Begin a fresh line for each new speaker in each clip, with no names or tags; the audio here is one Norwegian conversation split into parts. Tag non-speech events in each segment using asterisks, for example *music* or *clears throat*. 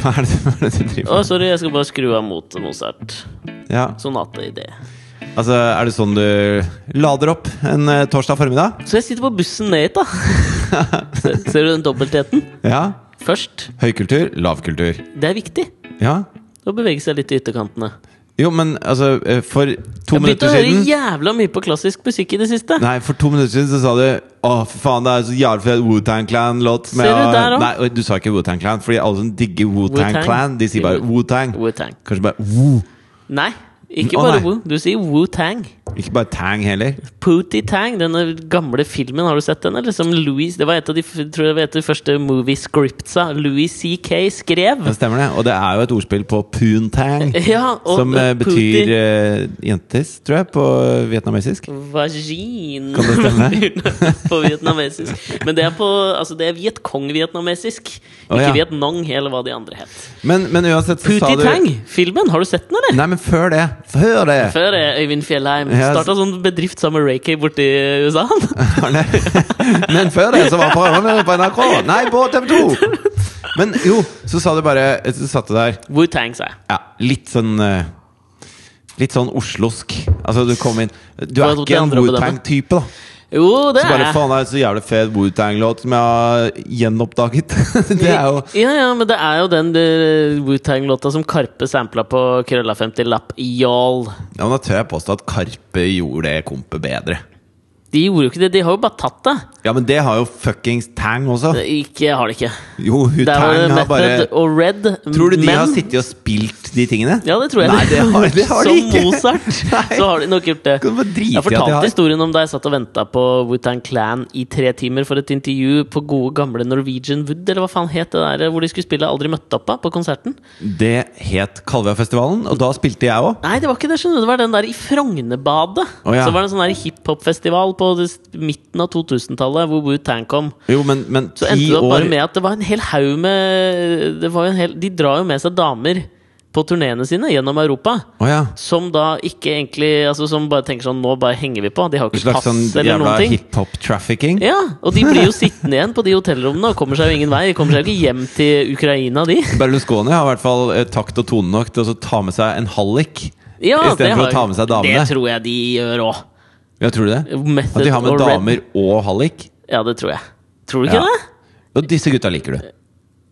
Hva er det, hva er det du driver
Å,
med?
sorry, jeg skal bare skru av mot Mozart.
Ja.
Sonate i det.
Altså, er det sånn du lader opp en eh, torsdag formiddag?
Så jeg sitter på bussen ned hit, da.
*laughs*
Ser, ser du den dobbeltheten?
Ja.
Først.
Høykultur, lavkultur.
Det er viktig
Ja.
å bevege seg litt i ytterkantene.
Jo, men altså, eh, for to
Jeg begynte
minutter
å høre
siden
jævla mye på klassisk musikk i det siste.
Nei, for to minutter siden så sa du Å, for faen, det er så jævlig fet Wu-Tang Clan-låt med
Ser du
å-
der også?
Nei, og du sa ikke Wu-Tang Clan, fordi alle som digger Wu-Tang
Wu-Tang.
Clan, de sier bare Wu-Tang.
Wu-Tang.
Kanskje bare Wu.
Nei, ikke
Å,
bare
nei.
Wu. Du sier Wu-Tang.
Ikke bare Tang heller.
Pooty Tang, denne gamle filmen, har du sett den? Eller som Louis Det var et av de, f- tror jeg var et av de første movie scriptsa Louis CK skrev.
Det stemmer det. Og det er jo et ordspill på Poontang,
Ja, *laughs* og
som eh, betyr
Pooty
eh, jentes, tror jeg, på vietnamesisk.
Vagin
Kan det stemme?
*laughs* på vietnamesisk. Men det er på altså det er Vietcong-vietnamesisk.
Å,
Ikke
ja.
Vietnang, eller hva de andre het.
Men, men uansett så sa
Pooty
du
Tang-filmen, har du sett den, eller?
Nei, men før det! Før det!
Før det, Øyvind Fjellheim.
Ja,
Starta sånn bedrift sammen med Reiki borti USA.
*laughs*
han.
Arne. Men før det så var programmet på NRK! Nei, på TV 2! Men jo, så sa du bare Så satt du der
Wu-Tang, sa jeg.
ja, litt sånn eh, Litt sånn oslosk. Altså, du kom inn Du
Hva
er
er det
ikke en
andre på
Wu-Tang-type, da.
Jo, det
Så
er
bare
jeg.
faen, det er så jævlig fet Wu-Tang-låt som jeg har gjenoppdaget. *laughs* Det er jo
Ja, ja, men det er jo den eh, Wu-Tang-låta som Karpe sampla på Krølla 50 Lapp. Y'all.
Ja, men Da tør jeg påstå at Karpe gjorde det kompet bedre.
De gjorde jo ikke det, de har jo bare tatt det.
Ja, men det har jo fuckings Tang også.
Det- Ikke har de ikke.
Jo, hun
Der var det
Tang har bare
Method og Red.
Tror du de
men-
har sittet og spilt de tingene?
Ja, *laughs* det tror jeg.
Nei, det har, det har de
Som
ikke! *laughs*
Mozart,
Nei.
så har de nok gjort det.
Kan du bare drite i
Jeg
at de har?
fortalte historien om da jeg satt og venta på Wutan Clan i tre timer for et intervju på gode, gamle Norwegian Wood, eller hva faen het det der eh, hvor de skulle spille Aldri møtte opp av, på konserten.
Det het Kalvøyafestivalen, og da spilte jeg òg.
Nei, det var ikke det, skjønner du. Det var den der i Frognerbadet.
Å, ja.
Så var det en sånn der hiphopfestival på det, s- midten av 2000-tallet hvor Wutan kom.
Jo, men, men
Så endte
ti
det opp
år
bare med at det var en hel haug med det var jo en hel, De drar jo med seg damer på turneene sine gjennom Europa.
Å ja.
Som da ikke egentlig altså Som bare tenker sånn Nå bare henger vi på. De har jo
En
ikke
slags
pass
sånn
eller
jævla
noen ting.
hiphop-trafficking.
Ja, Og de blir jo sittende igjen på de hotellrommene og kommer seg jo ingen vei. De kommer seg jo ikke hjem til Ukraina, de.
Berlusconi har *laughs* i hvert fall eh, takt og tone nok til å så ta med seg en hallik.
Ja,
I stedet
det
for å
har-
ta med seg damene.
Det tror jeg de gjør òg.
Ja, tror du det? At de har med damer og hallik?
Ja, det tror jeg. Tror du ikke
Ja.
det?
Og disse gutta liker du.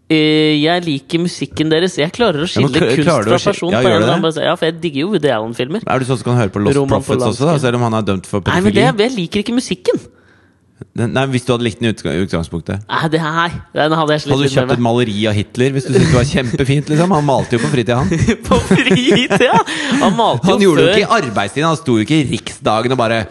Eh, Jeg liker musikken deres. Jeg klarer
men
å skille
kl-
kunst
klarer du
fra
å skil-
person.
Ja,
på
gjør du
en eller
det?
annen måte. Ja, for jeg digger jo Woody Allen-filmer.
Er du sånn som kan høre på Lost
Roman
Prophets også, da,
Polanski.
selv om han er dømt for
Nei, men det,
pedofili?
jeg liker ikke musikken!
Den- Nei, Hvis du hadde likt den i utgang- utgangspunktet?
Nei, det her, den hadde jeg slitt
Hadde du
litt med
kjøpt
meg.
et maleri av Hitler hvis du syntes det var kjempefint? liksom? Han malte jo på fritida,
*laughs*
han.
*laughs* på fritida! Han malte jo
Han gjorde det
før.
jo ikke i arbeidstiden, han sto jo ikke i Riksdagen og bare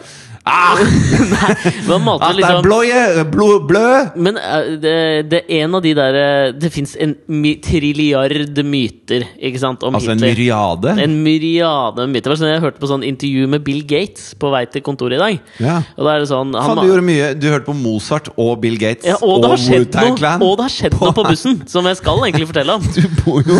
ah,
Men han malte
At det er
liksom
blåje, blå, blø!
Men eh, det, det er en av de der eh, Det fins en my trilliard myter ikke sant, om
Altså en
Hitler.
myriade.
En myriade myter. Det var sånn Jeg hørte på sånn intervju med Bill Gates på vei til kontoret i dag.
Ja.
Og da er det sånn han
Faen,
ma-
du gjorde mye. Du hørte på Mozart og Bill Gates
ja, og, det har skjedd
Wu-Tang
noe, og det har skjedd noe på bussen, som jeg skal egentlig
*laughs*
fortelle om.
Du bor jo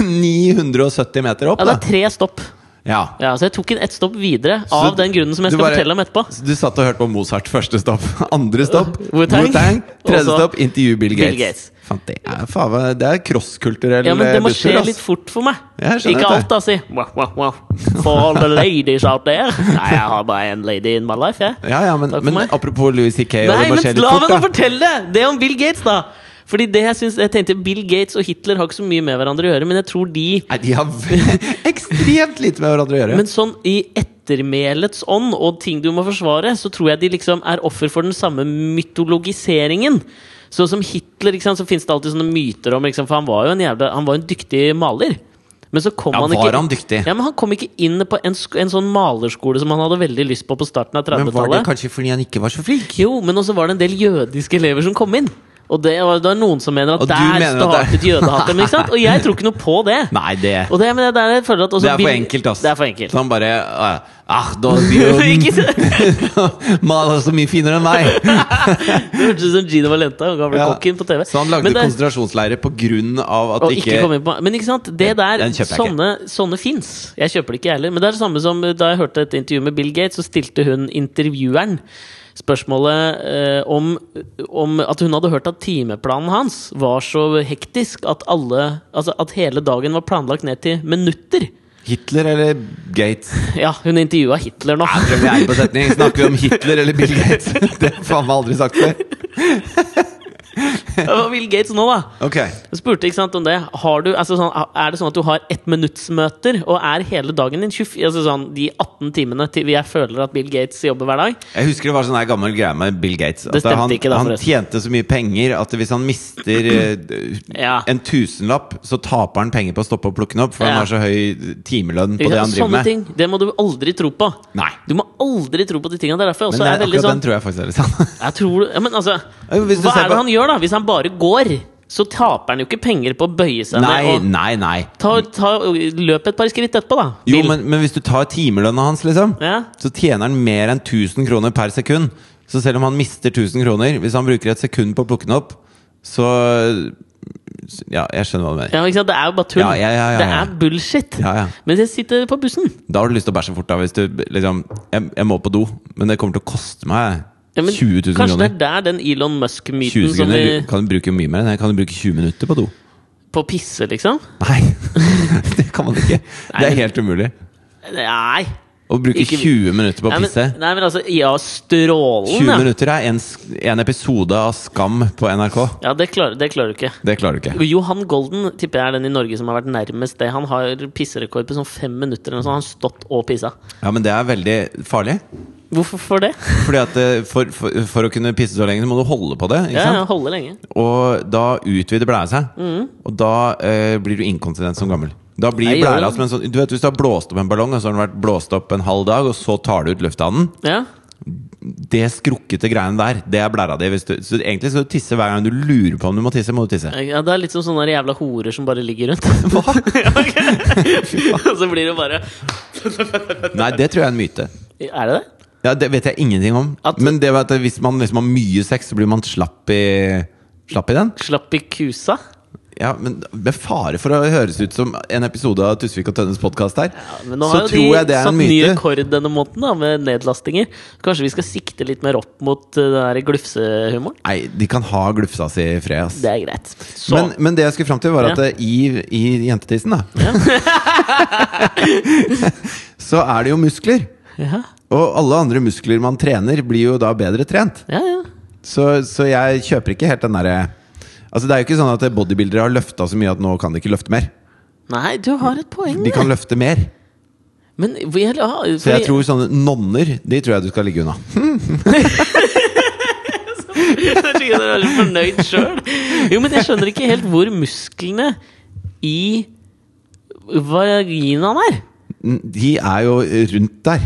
970 meter opp,
Ja, det
da.
er tre stopp.
Ja.
Ja, Så jeg tok en ett stopp videre
Så
av den grunnen som jeg
du
skal
bare-
fortelle om etterpå.
Så du satt og hørte på Mozart første stopp, *laughs* andre stopp,
*laughs* Wu-Tang.
Wu-Tang, tredje
Og så
stopp, intervju Bill Gates.
Bill Gates.
Faen, det er faen meg- Det er crosskulturell eh,
Ja, men det må
busstur,
skje
ass.
litt fort for meg.
Ja, jeg skjønner
Ikke
dette.
alt, da, si. Wow, wow, wow. For all the ladies out there. *laughs* Nei, jeg har bare en lady in my life, jeg.
Ja, ja, men,
Takk for
men
meg.
apropos Louis C.K. og
Nei,
det må skje
men
litt
la
fort,
meg
da.
nå fortelle det om Bill Gates, da! Fordi det jeg synes, jeg tenkte Bill Gates og Hitler har ikke så mye med hverandre å gjøre, men jeg tror de
Nei, de har *laughs* v- ekstremt lite med hverandre å gjøre.
Men sånn i ettermælets ånd og ting du må forsvare, så tror jeg de liksom er offer for den samme mytologiseringen. Så som Hitler, ikke sant, så finnes det alltid sånne myter om ikke sant, For han var jo en jævla Han var en dyktig maler. Men så kom
Ja,
han
var
ikke
han dyktig?
Ja, men han kom ikke inn på en, sk en sånn malerskole som han hadde veldig lyst på på starten av
Men var det
30-tallet.
kanskje fordi han ikke var så flink?
Jo, men også var det en del jødiske elever som kom inn. Og det var, det er noen som mener at
Og du
der
mener at
startet
det-
jødehatet. men Ikke sant? Og jeg tror ikke noe på det.
*laughs* Nei, det,
Og det, men det, er der jeg føler at også
det er for
Bill-
enkelt, ass.
Det er for enkelt.
Så han bare «Å, Ah, da
*laughs*
Bjørn *laughs*
Ikke sant?
maler så mye finere enn
*laughs*
meg!
Det hørtes ut som Gino Valenta, den gamle
Ja.
kokken på TV.
Så han lagde
Men det-
konsentrasjonsleirer på grunn av at
og
det
ikke
ikke,
komme inn på, men ikke sant, det der,
den kjøper jeg ikke.
sånne, sånne fins. Jeg kjøper det ikke, jeg heller. Men det er det samme som da jeg hørte et intervju med Bill Gates, så stilte hun intervjueren spørsmålet eh, om, om at hun hadde hørt at timeplanen hans var så hektisk at, alle, altså at hele dagen var planlagt ned til minutter.
Hitler eller Gates?
Ja, hun intervjua Hitler nå.
Prøv å
*laughs*
gjøre på setning. Snakker vi om Hitler eller Bill Gates? Det har faen meg aldri sagt før.
Det var Bill Gates nå, da.
Ok.
Jeg spurte ikke sant, om det. Har du, altså, sånn, er det sånn at du har ettminuttsmøter, og er hele dagen din 24, altså, sånn, de 18 timene til jeg føler at Bill Gates jobber hver dag?
Jeg husker det var sånn her gammel greie med Bill Gates.
Det stemte
han,
ikke da,
han
forresten.
tjente så mye penger at hvis han
*clears throat*
mister eh,
Ja.
en tusenlapp, så taper han penger på å stoppe å plukke den opp, for
Ja.
han har så høy timelønn på
Ikke
det
sant?
han driver
Sånne
med.
ting. Det må du aldri tro på.
Nei.
Du må aldri tro på de tingene. Det er derfor jeg
Men det,
også er veldig
akkurat
sånn
den tror jeg faktisk er litt sann.
jeg tror, ja, men altså,
Ja, men hvis du
Hva
ser
er
på-
det han gjør, da? Hvis han bare går, så taper han jo ikke penger på å bøye seg
Nei,
ned. Og
nei, nei.
ta, ta, løp et par skritt etterpå, da.
Jo,
Bill.
men, men hvis du tar timelønna hans, liksom,
Ja.
så tjener han mer enn 1000 kroner per sekund. Så selv om han mister 1000 kroner, hvis han bruker et sekund på å plukke den opp, så Ja, jeg skjønner hva du mener.
Ja, ikke sant? Det er jo bare tull.
Ja, ja, ja, ja,
Det
ja.
er bullshit.
Ja, ja.
Men jeg sitter på bussen.
Da har du lyst til å bæsje fort, da. Hvis du liksom Jeg, jeg må på do, men det kommer til å koste meg
Ja, men
20 000 kroner.
kanskje det er der den Elon
20
Musk-myten
000
som
kroner
vi
du- kan du bruke mye mer enn det. Kan du bruke 20 minutter på do?
På å pisse, liksom?
Nei, *laughs* det kan man ikke. Det
Nei.
er helt umulig.
Nei.
Å bruke
Ikke-
20 minutter på
Nei,
å
men,
pisse
nei, men altså, ja,
20
strålende.
minutter er en, sk- en episode av Skam på NRK.
Ja, det klarer, det klarer du ikke.
Det klarer du ikke.
Johan Golden tipper jeg er den i Norge som har vært nærmest det. Han har pisserekord på sånn fem minutter. Eller noe sånt. Han har stått og pissa.
Ja, men det er veldig farlig.
Hvorfor for det?
Fordi at eh, for, for, for å kunne pisse så lenge, så må du holde på det. Ikke
Ja,
sant?
ja, holde lenge.
Og da utvider blæra seg. Og da eh, blir du inkontinent som gammel. Da blir
Jeg gjør
blæra
det.
som en sånn Du vet Hvis du har blåst opp en ballong, og så har den vært blåst opp en halv dag, og så tar du ut lufta av den
Ja.
Det skrukkete greiene der, det er blæra di. Hvis du, så egentlig skal du tisse hver gang du lurer på om du må tisse. Må du tisse
ja, Det er litt som sånne jævla horer som bare ligger rundt. Ja, *laughs* ok. *laughs* Og så blir det bare
Nei, det tror jeg er en myte.
Er det det?
Ja, Det vet jeg ingenting om.
At-
Men det vet jeg, hvis man liksom har mye sex, så blir man slapp i, slapp i den.
Slapp i kusa?
Ja, men Med fare for å høres ut som en episode av Tusvik og Tønnes podkast her,
Ja, men nå
så
har jo
tror
de
jeg det er
satt
en
ny
myte.
rekord denne måneden da, med nedlastinger. Kanskje vi skal sikte litt mer opp mot uh, den der glufsehumoren?
Nei, de kan ha glufsa si i fred, ass.
Det er greit. Så
Men, men det jeg skulle fram til, var at
Ja.
eh, i, i jentetissen, da *laughs* Så er det jo muskler.
ja.
Og alle andre muskler man trener, blir jo da bedre trent.
ja, ja.
Så, så jeg kjøper ikke helt den derre Altså Det er jo ikke sånn at bodybuildere har løfta så mye at nå kan de ikke løfte mer.
Nei, du har et poeng.
De kan løfte mer.
Men hvor- ja,
Så jeg
fordi-
tror sånne nonner, de tror jeg du skal ligge unna.
*laughs* Jeg er sikkert dere er så fornøyd sjøl. Jo, men jeg skjønner ikke helt hvor musklene i vaginaen er.
De er jo rundt der.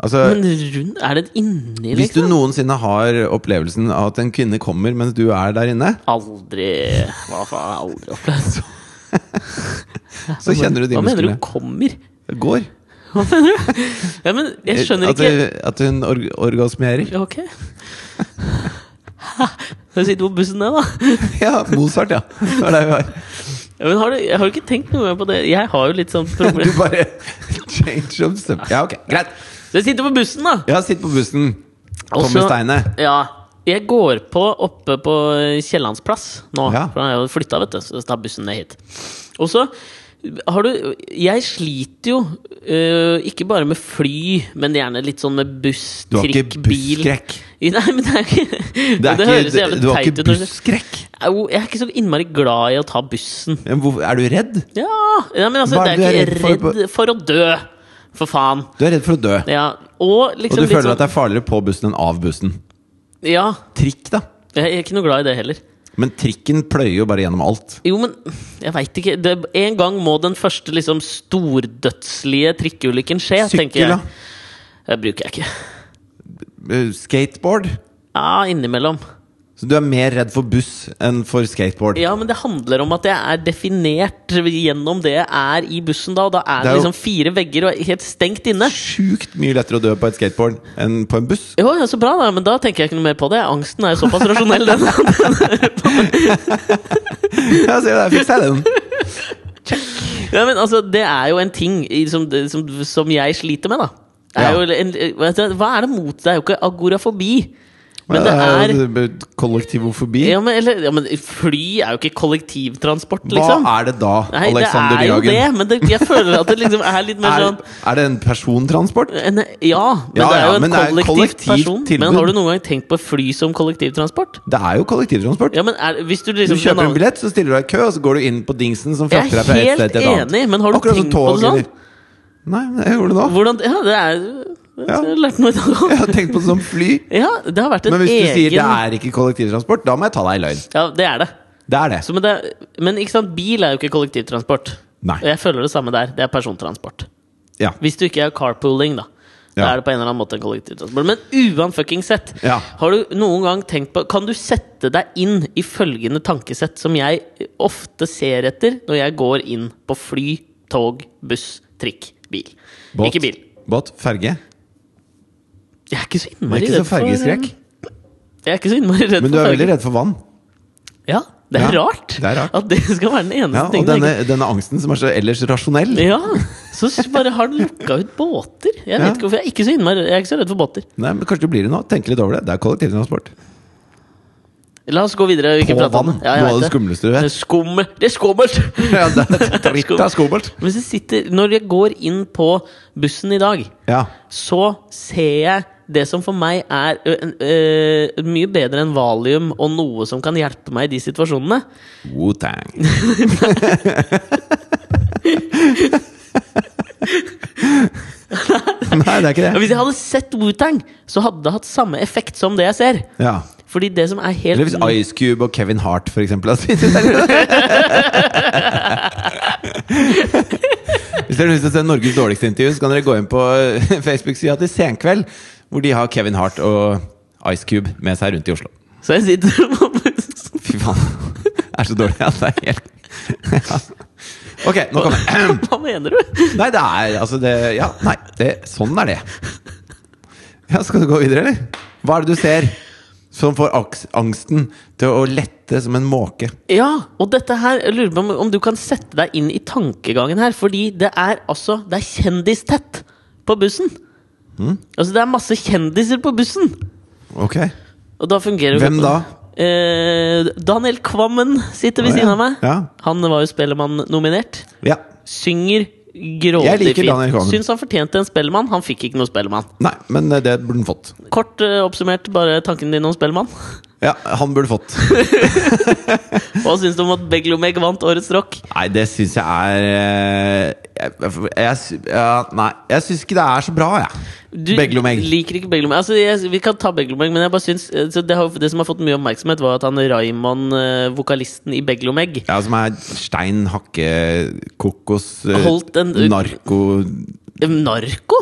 Altså
Men rundt Er det inni,
Hvis du
liksom?
noensinne har opplevelsen av at en kvinne kommer mens du er der inne,
Aldri Hva faen, jeg har aldri opplevd.
så kjenner du de
Hva mener du
musklene.
kommer?
Går.
Hva mener du? Ja, men
Eh,
jeg skjønner
At,
ikke
at hun org orgasmerer.
Ok. Da sitter på bussen ned, da.
Ja, Mozart, ja. Det var der vi var.
Ja, men har du, jeg har jo ikke tenkt noe mer på det. Jeg har jo litt sånn
Du *laughs*
problem.
bare change of sub. Ja, ok, greit.
Så jeg sitter på bussen, da.
Ja, sitt på bussen. Tommy
Også-
Steine.
Ja. Jeg går på oppe på Kiellandsplass nå.
Ja.
For han har jo flytta, vet du. Så jeg tar bussen ned hit. Og så har du Jeg sliter jo øh, ikke bare med fly, men gjerne litt sånn med buss,
Du har
trikk,
ikke
bil.
busskrekk.
Nei, men det er jo ikke *laughs* Det,
Det er
høres
ikke,
jævlig
du har
teit
ikke
ut. når du-
busskrekk.
Au, Jeg er ikke så innmari glad i å ta bussen.
Men hvorfor- Er du redd?
Ja, ja men altså,
Hva er
det er ikke
det
redd
du er redd for
for, å dø. For faen.
Du er redd for å dø.
Ja, og
Og
liksom
du
litt
føler at
sånn-
det er farligere på bussen enn av bussen.
Ja,
Trikk, da.
jeg er ikke noe glad i det heller.
Men trikken pløyer jo bare gjennom alt.
Jo, men jeg veit ikke. Det, en gang må den første liksom stordødslige trikkeulykken skje, tenker
Sykkel,
jeg.
da.
Det bruker jeg ikke.
Eh, Skateboard.
Ja, innimellom.
Så du er mer redd for buss enn for skateboard?
Ja, men det handler om at jeg er definert gjennom det jeg er i bussen da. Og da
Det
er det,
er jo-
liksom fire vegger og helt stengt inne.
Sjukt mye lettere å dø på et skateboard enn på en
*laughs*
buss.
Jo, ja, så bra, da. Men da tenker jeg ikke noe mer på det. Angsten er jo såpass rasjonell, den.
*laughs* Ja, se der fikk jeg den!
Ja, men altså, det er jo en ting i- som, som, som jeg sliter med, da. Det
Ja.
Er jo en, vet du, hva er det mot? Det er jo ikke agorafobi. Men det er
Ja, eh, det er Kollektivofobi.
ja men, eller, ja, men fly er jo ikke kollektivtransport, liksom.
Hva er det da,
Nei,
Alexander
det er jo
Jagen?
det, men det, jeg føler at det liksom er litt mer
*laughs* Er,
sånn
er det en persontransport?
en, Ja, men
Ja,
det er
ja,
jo
men
en
det er et
kollektivt
kollektivt
person.
tilbud.
Men har du noen gang tenkt på fly som kollektivtransport?
Det er jo kollektivtransport.
Ja, men er, hvis du
Du
liksom
kjøper en
annen-
billett, så stiller du deg i kø, og så går du inn på dingsen som
Jeg
frakter deg fra et
er
sted
helt
til et annet.
enig, men har du
Akkurat som
tenkt på det
tog,
sånn?
eller- Nei, men jeg gjorde det nå.
Hvordan, ja, det er
Ja.
Jeg har lært noe i dag
*laughs* Jeg
òg.
har tenkt på det som fly.
Ja, det har vært en
Men hvis du
egen
sier det er ikke kollektivtransport, da må jeg ta deg i løgn.
Ja, det er det.
Det er det.
Så, men, det men ikke sant, bil er jo ikke kollektivtransport.
Nei.
Og jeg føler det samme der. Det er persontransport.
Ja.
Hvis du ikke er carpooling, da. Da
Ja.
er det på en eller annen måte en kollektivtransport. Men uanfucking sett,
Ja.
har du noen gang tenkt på Kan du sette deg inn i følgende tankesett som jeg ofte ser etter når jeg går inn på fly, tog, buss, trikk, bil?
Båt.
Ikke bil.
Båt. Ferge.
Jeg er ikke så
Du er
innmari
ikke så
redd for
fergeskrekk.
Jeg er ikke så innmari redd
Men du
for
er
farger.
veldig redd for vann.
Ja, det er
Ja,
rart.
det er rart.
At det skal være den eneste
Ja, og
tingen. jeg
denne, denne angsten som er så ellers rasjonell.
ikke- Ja, så s- bare har den lukka ut båter. Jeg vet
Ja.
ikke hvorfor jeg er ikke så innmari Jeg er ikke så redd for båter.
Nei, men Kanskje du blir det nå. Tenk litt over det. Det er kollektivtransport.
La oss gå videre. vi kan
På
prate om
vann.
det. Ja, jeg
Noe av det
vet
skumleste du
Det er
vet.
skummelt! Det er skummelt!
*laughs*
*laughs*
Ja, det er *laughs* dritt det er skummelt.
Men så sitter, når jeg går inn på bussen i dag,
Ja.
så ser jeg det som for meg er ø, en- ø, mye bedre enn valium og noe som kan hjelpe meg i de situasjonene.
*laughs* Wu-Tang. Nei, det er ikke
Ja,
det.
Hvis jeg hadde sett Wu-Tang, så hadde det hatt samme effekt som det jeg ser.
Ja.
Fordi det som er helt
Eller hvis Ice Cube og Kevin Hart for eksempel, hadde spist det. Hvis dere har lyst til å se Norges dårligste intervju, så kan dere gå inn på eh, Facebook-sida til Senkveld, hvor de har Kevin Hart og Ice Cube med seg rundt i Oslo.
Så jeg sitter *laughs* på bussen.
Fy faen. Det er så dårlig at det er helt ja. Ok, nå kommer *clears throat* jeg.
Hva mener du?
Nei, det er altså det Ja, nei. Det, sånn er det. Ja, Skal du gå videre, eller? Hva er det du ser som får aks- angsten til å lette som en måke?
Ja, og dette her jeg lurer på om, om du kan sette deg inn i tankegangen her. Fordi det er altså Det er kjendistett på bussen.
Mm.
Altså, det er masse kjendiser på bussen.
Ok.
Og da fungerer jo-
Hvem da?
Eh, Daniel Kvammen sitter
Å,
ved
ja.
siden av meg.
Ja.
Han var jo Spellemann-nominert.
Ja.
Synger
Jeg
grådig
liker Daniel
fint.
Kvammen.
Syns han fortjente en Spellemann. Han fikk ikke noe Spellemann.
Nei, men eh, det burde han fått.
Kort eh, oppsummert, bare tanken din om Spellemann. *laughs*
Ja, han burde fått.
Hva syns du om at Beglomeg vant Årets rock?
*laughs* Nei, det syns jeg er eh, jeg, jeg, sy- ja, Nei, jeg syns ikke det er så bra, jeg.
Du
Beglomeg.
liker ikke Beglomeg. Altså, jeg, vi kan ta Beglomeg, men jeg bare syns eh, så det, har, det som har fått mye oppmerksomhet, var at han Raymond, eh, vokalisten i Beglomeg
Ja, som er stein, hakke, kokos, eh,
Holdt en-
narko
Eh, Narko?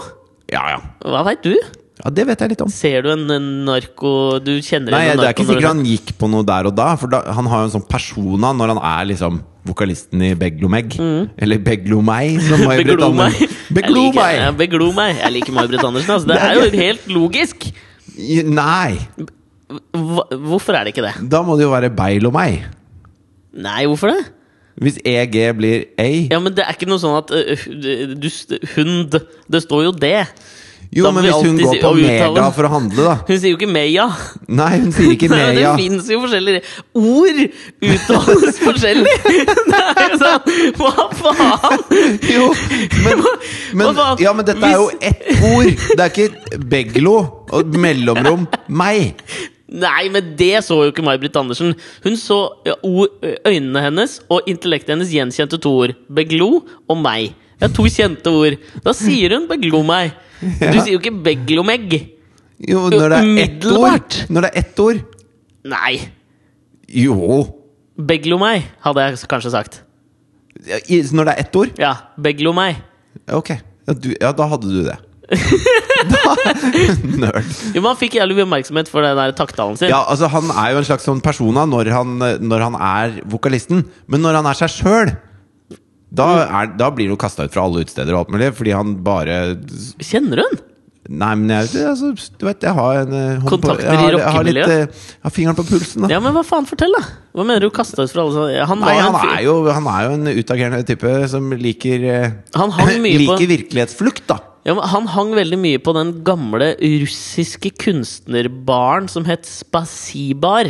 Ja, ja.
Hva veit du?
Ja, Det vet jeg litt om.
Ser du en, en narko Du kjenner
Nei,
en
Det er
narko?
ikke sikkert han gikk på noe der og da, for da, han har jo en sånn persona når han er liksom vokalisten i Beglomeg.
Mm.
Eller Beglomei, *laughs* som
*laughs*
May-Britt
Beglo meg.
Andersen.
Jeg liker- ja,
Beglomei!
Beglo meg. Jeg liker May-Britt Andersen.
*laughs*
Altså. Det
Det er
er jo helt logisk.
I- Nei!
Hva, hvorfor er det ikke det?
Da må det jo være Beilomei.
Nei, hvorfor det?
Hvis EG blir A
Ja, men det er ikke noe sånn at eh, du, Hund Det står jo det.
Jo,
da må
men
vi
hvis hun
alltid
går
si-
på
og uttale
Mega
den.
for å handle, da
Hun sier jo ikke Meya.
Nei, hun sier ikke
*laughs* Nei, det
Mea.
fins jo forskjellige Ord uttales
*laughs*
forskjellig! Det er jo sånn Hva faen?
*laughs*
*laughs*
Jo, men,
Hva
men,
faen?
ja, men dette er jo
Hvis-
ett ord! Det er ikke Beglo og mellomrom meg.
Nei, men det så jo ikke May-Britt Andersen. Hun så ja, o- øynene hennes og intellektet hennes gjenkjente to ord. Beglo og meg. Det er to kjente ord. Da sier hun 'beglo meg'. Du
Ja.
sier jo ikke 'beglomeg'.
Jo, når det er ett ord.
Umiddelbart.
Når det er ett ord.
Nei.
Jo.
'Beglo meg', hadde jeg kanskje sagt.
Ja, i- Når det er ett ord?
Ja. 'Beglo meg'. *laughs*
Ok, ja, du, ja da hadde du det *laughs* Nerd.
Jo, men Han fikk jævlig mye oppmerksomhet for den der takttalen sin.
Ja, altså Han er jo en slags sånn persona når han, når han er vokalisten, men når han er seg sjøl da,
Mm.
er, da blir han jo kasta ut fra alle utesteder og alt mulig, fordi han bare
Kjenner hun?
Nei, men jeg, altså, du vet, jeg har en eh, hånd
Kontakter
jeg har,
i
jeg har litt,
rockemiljøet?
eh, Jeg har fingeren på pulsen, da.
*laughs* Ja, men hva faen? Fortell, da! Hva mener du kasta ut fra alle sånne Han,
Nei,
var
han
en fyr-
er, jo, han er jo en utagerende type som liker eh,
Han hang
*laughs*
mye på-
Liker virkelighetsflukt, da.
ja, men han hang veldig mye på den gamle russiske kunstnerbaren som het Spasibar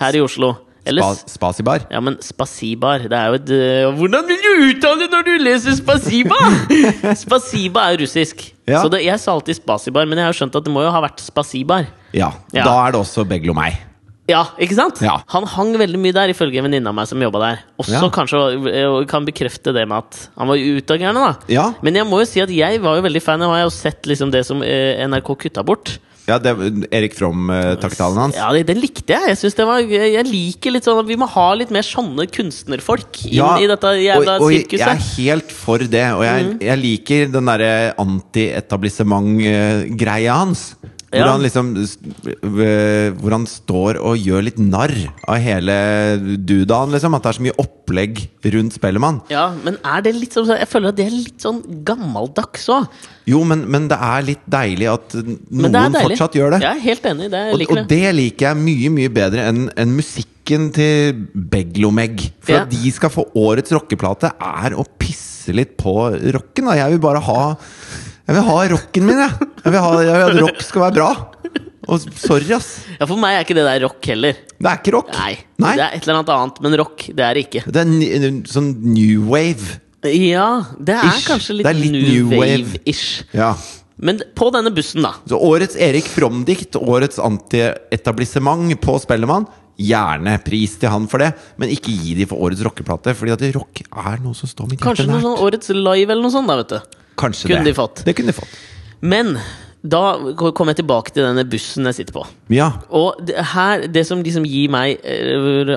her i Oslo. Eller
Spa, spasibar.
Ja, men spasibar, det er jo et øh, Hvordan vil du uttale det når du leser spasiba?
*laughs*
spasiba er russisk.
Ja.
Så det, jeg sa alltid spasibar, men jeg har jo skjønt at det må jo ha vært spasibar.
Ja,
Ja.
Da er det også Beglo meg.
Ja, ikke sant?
Ja.
Han hang veldig mye der, ifølge en venninne av meg som jobba der. Også
Ja.
kanskje øh, kan bekrefte det med at han var utagerende, da.
Ja,
Men jeg må jo si at jeg var jo veldig fan. Jeg har jo sett liksom det som øh, NRK kutta bort.
ja det, Erik From-taktalen hans.
Ja, det- Den likte jeg. Jeg synes det var, jeg liker litt sånn at Vi må ha litt mer sånne kunstnerfolk inn
Ja,
i dette jævla
og, og
sirkuset. Mm.
Jeg er helt for det, og jeg, jeg liker den derre anti-etablissement-greia hans. Hvor
Ja.
han liksom s- v- Hvor han står og gjør litt narr av hele dudaen, liksom. At det er så mye opplegg rundt Spellemann.
Ja, men er det litt sånn Jeg føler at det er litt sånn gammeldags òg.
Jo, men, men det er litt deilig at noen fortsatt gjør det.
Jeg er helt enig. Det, jeg
Og,
liker
og
det.
det liker jeg mye mye bedre enn enn musikken til Beglomeg. For
Ja.
at de skal få årets rockeplate, er å pisse litt på rocken. Da. Jeg vil bare ha Jeg vil ha rocken min, jeg. Jeg vil, ha, jeg vil at rock skal være bra. Og sorry, ass.
Ja, For meg er ikke det der rock heller.
Det er ikke rock.
Nei. Det er et eller annet annet, men rock, det er det ikke.
Det er ny- en sånn new wave.
Ja, det er
Ish.
kanskje litt,
Det er litt new
new
wave.
wave-ish.
Ja.
Men på denne bussen, da.
Så årets Erik Fromm-dikt, årets antietablissement på Spellemann. Gjerne pris til han for det, men ikke gi de for årets rockeplate. Fordi at rock er noe som står mitt hjerte
Kanskje noe
nært.
sånn Årets Live eller noe sånt, da, vet du.
Kanskje
Kunne
det.
de fått.
Det kunne de fått.
Men da kom jeg tilbake til denne bussen jeg sitter på.
Ja.
Og det, her, det som liksom gir meg eh,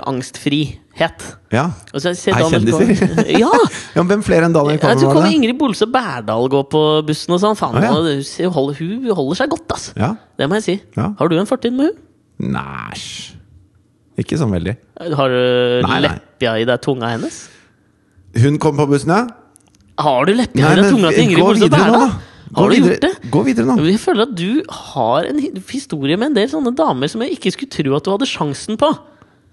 angstfrihet
ja.
Og så har jeg sett
Er
Daniel
kjendiser?
Kvammen- *laughs*
*laughs*
Ja!
ja men hvem flere enn Daniel
Ah! Jeg
Kvammen
tror
var
kommer
det?
Ingrid Bolse Berdal gå på bussen og sånn. Faen,
Å, ja.
hun- hun, holder, hun holder seg godt, ass.
Ja.
Det må jeg si.
Ja.
Har du en fortid med hun?
Næsj. Ikke sånn veldig.
Har du
Nei, nei.
lepja i deg tunga hennes?
Hun kom på bussen, ja.
Har du lepja i deg tunga til Ingrid
gå
Bolse
videre nå,
Berdal?
da. Gå
Har du
videre.
gjort det?
Gå videre nå.
Jeg føler at du har en hi- historie med en del sånne damer som jeg ikke skulle tro at du hadde sjansen på.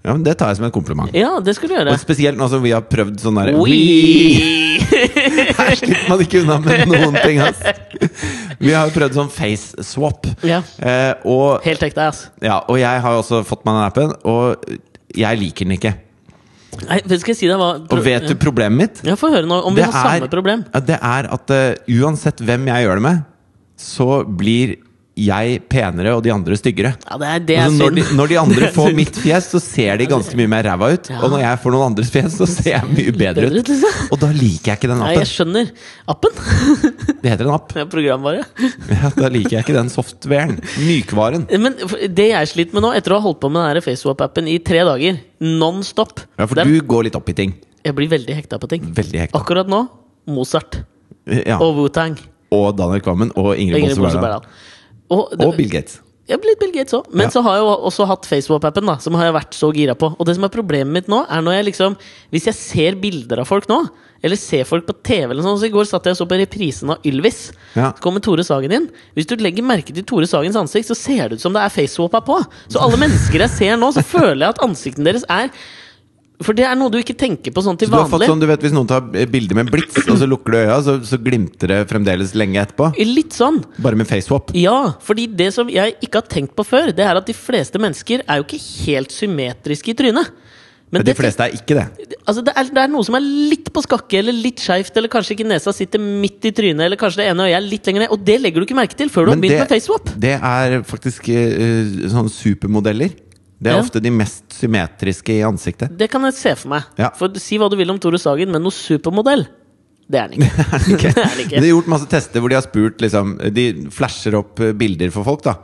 Ja, men Det tar jeg som en kompliment.
Ja, det skulle du
Og
gjøre.
spesielt nå som vi har prøvd sånn derre
Oi!
Her slipper man ikke unna med noen ting, ass. Vi har jo prøvd sånn face swap.
Ja.
Eh, og,
Helt ekte, ass.
ja, og jeg har jo også fått meg den appen, og jeg liker den ikke.
Nei, vet- skal jeg si deg hva
Og vet du problemet mitt?
Ja, Få høre nå om vi har samme problem.
ja, det er at eh, uansett hvem jeg gjør det med, så blir jeg penere og de andre styggere.
Ja, det er, det er
Altså, når, de,
synd.
når de
Det
andre
*laughs* er
får
synd.
mitt fjes, så ser de ganske mye mer ræva ut.
Ja.
Og når jeg får noen andres fjes, så ser jeg mye bedre
Bedre ut,
ut.
liksom.
Og da liker jeg ikke den
Nei, jeg
appen.
skjønner. Appen? *laughs*
Det heter en app.
Det er programvare.
Ja, da liker jeg ikke den softvaren. Mykvaren.
Men for- det jeg sliter med nå, etter å ha holdt på med den her FaceWap-appen i tre dager, non stop
Ja, for
Det er-
du går litt opp i ting.
Jeg blir veldig hekta på ting.
Veldig hekta.
Akkurat nå Mozart
Ja.
og Wu-Tang.
Og Daniel Kvammen og Ingrid
Ingrid
Bolse
Bolse
Berdal.
Berdal. Og, det-
Og Bill Gates.
jeg blir litt Bill Gates òg. Men
Ja.
så har jeg jo også hatt FaceWap-appen, da, som har jeg vært så gira på. Og det som er problemet mitt nå, er når jeg liksom Hvis jeg ser bilder av folk nå, eller ser folk på TV eller sånn Så i går satt jeg og så på reprisen av Ylvis.
Ja.
Så kommer Tore Sagen inn. Hvis du legger merke til Tore Sagens ansikt, så ser det ut som det er FaceWap-a på. Så alle mennesker jeg ser nå, så føler jeg at ansiktene deres er For det er noe du ikke tenker på sånn til
Så du har fått
vanlig.
sånn, du vet Hvis noen tar eh, bilde med blits, og så lukker du øya, så, så glimter det fremdeles lenge etterpå?
Litt sånn.
Bare med facewap?
Ja, fordi det som jeg ikke har tenkt på før, det er at de fleste mennesker er jo ikke helt symmetriske i trynet. Men
De
det-
fleste er ikke det.
Altså, det, er, det er noe som er litt på skakke, eller litt skeivt, eller kanskje ikke nesa sitter midt i trynet, eller kanskje det ene øyet er litt lenger ned, og det legger du ikke merke til før du har
Men
begynt
det,
med FaceWap.
det er faktisk eh, sånn supermodeller. Det er
Ja.
ofte de mest symmetriske i ansiktet.
Det kan jeg se for meg.
Ja.
For si hva du vil om Tore Sagen, men noe supermodell,
*laughs*
det er han ikke.
Ok.
*laughs* det er han
Men
ikke.
de har gjort masse tester hvor de har spurt liksom, De
Mm.
flasher opp eh, bilder for folk da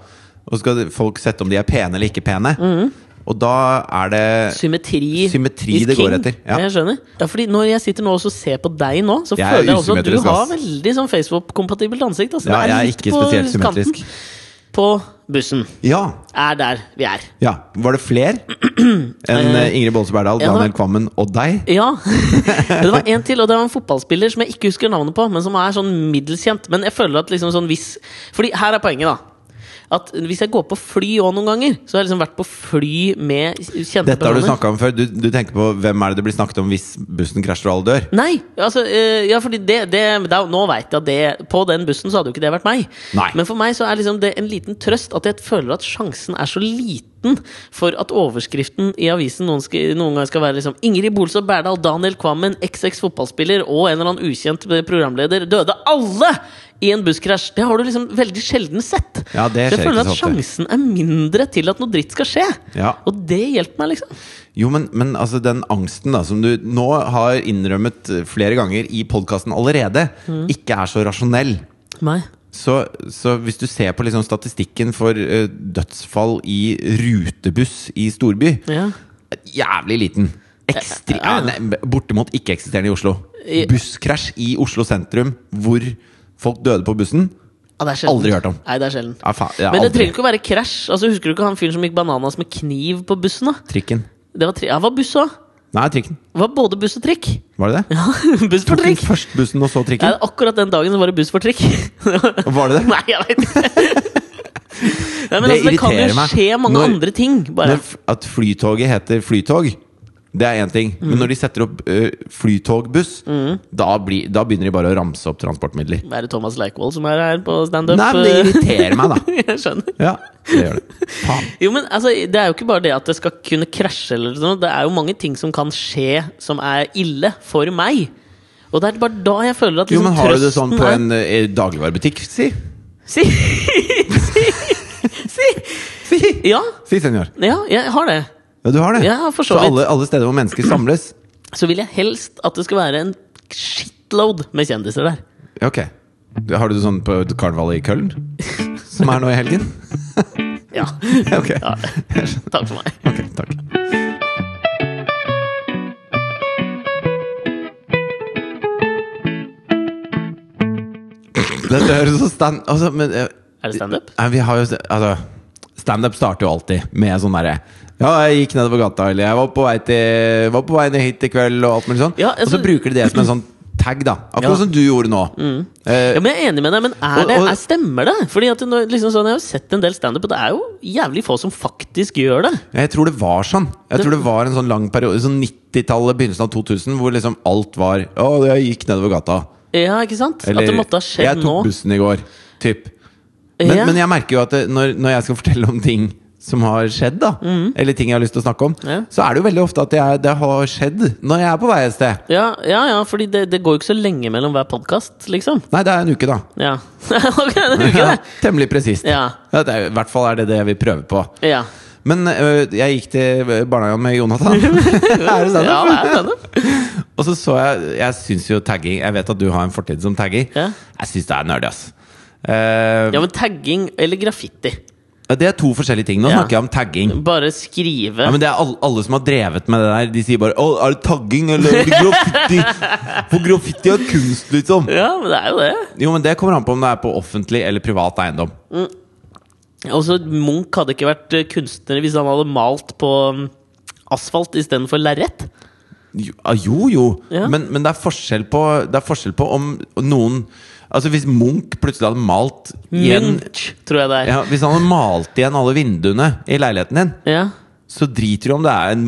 Og så skal folk sette om de er pene eller ikke pene Og da er det
Symmetri,
Symmetri
is
det
king.
går etter, ja.
Jeg skjønner. Ja, fordi når jeg sitter nå og så ser på deg nå, så
Jeg er
føler jeg også at du
usymmetrisk,
har
ass.
veldig sånn Facebook-kompatibelt ansikt. Altså.
Ja,
Det
jeg er
litt
ikke
på
spesielt
kanten.
symmetrisk.
På bussen.
Ja.
Er der vi er.
ja. Var det
*clears throat*
fler enn eh, Ingrid Bolse Berdal,
ja da.
Daniel Kvammen og deg?
Ja. *laughs* Men det var en til, og det var en fotballspiller som jeg ikke husker navnet på, men som er sånn middels kjent. Men jeg føler at liksom sånn hvis Fordi her er poenget, da. At hvis jeg går på fly òg noen ganger, så har jeg liksom vært på fly med kjente
Dette har du snakka om før. Du, du tenker på hvem er det det blir snakket om hvis bussen krasjer og alle dør?
Nei, altså, eh, ja, fordi det, det, da, nå vet jeg at det, på den bussen så hadde jo ikke det vært meg.
Nei.
Men for meg så er liksom det en liten trøst at jeg føler at sjansen er så liten for at overskriften i avisen noen, skal, noen gang skal være liksom Ingrid Bolstad Berdal, Daniel Kvammen, XX fotballspiller og en eller annen ukjent programleder døde alle i en busskrasj. Det har du liksom veldig sjelden sett.
Ja, det
så jeg
skjer
føler
ikke
at
så ofte.
sjansen er mindre til at noe dritt skal skje.
Ja.
Og det hjelper meg, liksom.
Jo, men, men altså den angsten da som du nå har innrømmet flere ganger i podkasten allerede,
Mm.
ikke er så rasjonell.
Meg.
Så, så hvis du ser på liksom statistikken for eh, dødsfall i rutebuss i storby
Ja.
Jævlig liten. Ekstre
Ja, ja.
eh, nei, bortimot ikke-eksisterende i Oslo.
I-
Busskrasj i Oslo sentrum hvor folk døde på bussen.
Ja, det er sjelden.
Aldri hørt om.
Nei, det er sjelden.
Ja, faen, ja,
Men det
aldri.
trenger ikke å være krasj. Altså, husker du ikke han fyren som gikk bananas med kniv på bussen? da?
Trikken.
Det var, tre... ja, det var buss òg.
Nei, trikken.
Det var både buss og trikk.
Var det det? *laughs*
buss for
Tok den
trikk.
først bussen, og så
Ja,
trikken?
akkurat den dagen så var det buss for trikk. *laughs*
Var det det?
Nei, jeg veit
*laughs*
ikke. Nei, men
Det
altså, det kan
irriterer
jo
meg.
skje mange
Når-
andre ting. Bare.
Når f- at flytoget heter flytog, det er én ting.
Mm.
Men når de setter opp ø, flytogbuss, da, blir- da begynner de bare å ramse opp transportmidler.
Er det Thomas Leikvoll som er her på standup?
Nei, men det irriterer meg, da.
*laughs* jeg skjønner.
Ja, det gjør det. Faen.
Jo, men altså, Det er jo ikke bare det at det skal kunne krasje. eller noe Det er jo mange ting som kan skje som er ille for meg. Og det er bare da jeg føler at
Jo,
liksom,
men har du det sånn
trøsten
på
er-
en ø, dagligvarebutikk? Si.
Si Si
Si,
Ja,
si senor.
ja, jeg har det.
Ja, du har det.
Ja, for så vidt.
alle, alle steder hvor mennesker samles.
Så vil jeg helst at det skal være en shitload med kjendiser der.
Ja, Ok. Du- Har du det sånn på karnevalet i Køln? Som er nå i helgen? *laughs*
Ja.
Ok.
ja. *laughs* Takk for meg.
Ok, takk. Dette høres så stand... Altså, men eh,
Er det standup?
eh, Vi har jo Altså, standup starter jo alltid med sånn derre ja, jeg gikk nedover gata, eller jeg var på vei, til, var på vei ned hit i kveld, og alt mulig sånn.
Ja,
og så
altså-
bruker de det som en sånn tag, da. Akkurat
Ja. Mm.
som du gjorde nå. Eh,
Ja, men Jeg er enig med deg, men er
Og-
det,
og-
er, stemmer det? Fordi at når, liksom sånn, Jeg har jo sett en del standup, og det er jo jævlig få som faktisk gjør det.
Jeg tror det var sånn. Jeg tror det var en sånn lang periode, sånn 90-tallet, begynnelsen av 2000, hvor liksom alt var Å, jeg gikk nedover gata.
Ja, ikke sant? At det måtte ha
jeg
skjedd
tok
nå.
bussen i går. Typ. Men,
Ja.
men jeg merker jo at det, når, når jeg skal *laughs* fortelle om ting som har skjedd, da, eller ting jeg har lyst til å snakke om,
Mm. Ja.
så er det jo veldig ofte at jeg, det har skjedd når jeg er på vei et sted.
Ja, ja, ja fordi det, det går jo ikke så lenge mellom hver podkast, liksom.
Nei, det er en uke, da.
Ja. *laughs* ok, det er jo ikke
Ja,
det.
*laughs* temmelig presist.
Ja.
Ja, det er, I hvert fall er det det jeg vil prøve på.
Ja.
Men øh, jeg gikk til barnehagen med
*laughs*
Jonathan. er det sant?
Ja, det er standup.
Og så så jeg Jeg syns jo tagging Jeg vet at du har en fortid som tagger.
Ja.
Jeg syns det er nerdy, ass. Eh,
Ja, men tagging eller graffiti?
Det er to forskjellige ting. Nå
Ja.
snakker jeg om tagging.
Bare skrive
Ja, men det er alle, alle som har drevet med det der, de sier bare 'Å, er det tagging eller er det graffiti?' *laughs* For graffiti er kunst, liksom.
det er jo det.
Jo, men det kommer an på om det er på offentlig eller privat eiendom.
Også Munch hadde ikke vært eh, kunstner hvis han hadde malt på mm, asfalt istedenfor lerret.
Jo, ah, jo, jo.
Ja.
Men, men det, er forskjell på, det er forskjell på om noen Altså Hvis Munch plutselig hadde malt igjen
Munch, tror jeg det er.
ja, Hvis han hadde malt igjen alle vinduene i leiligheten din,
Ja.
så driter du om det er en,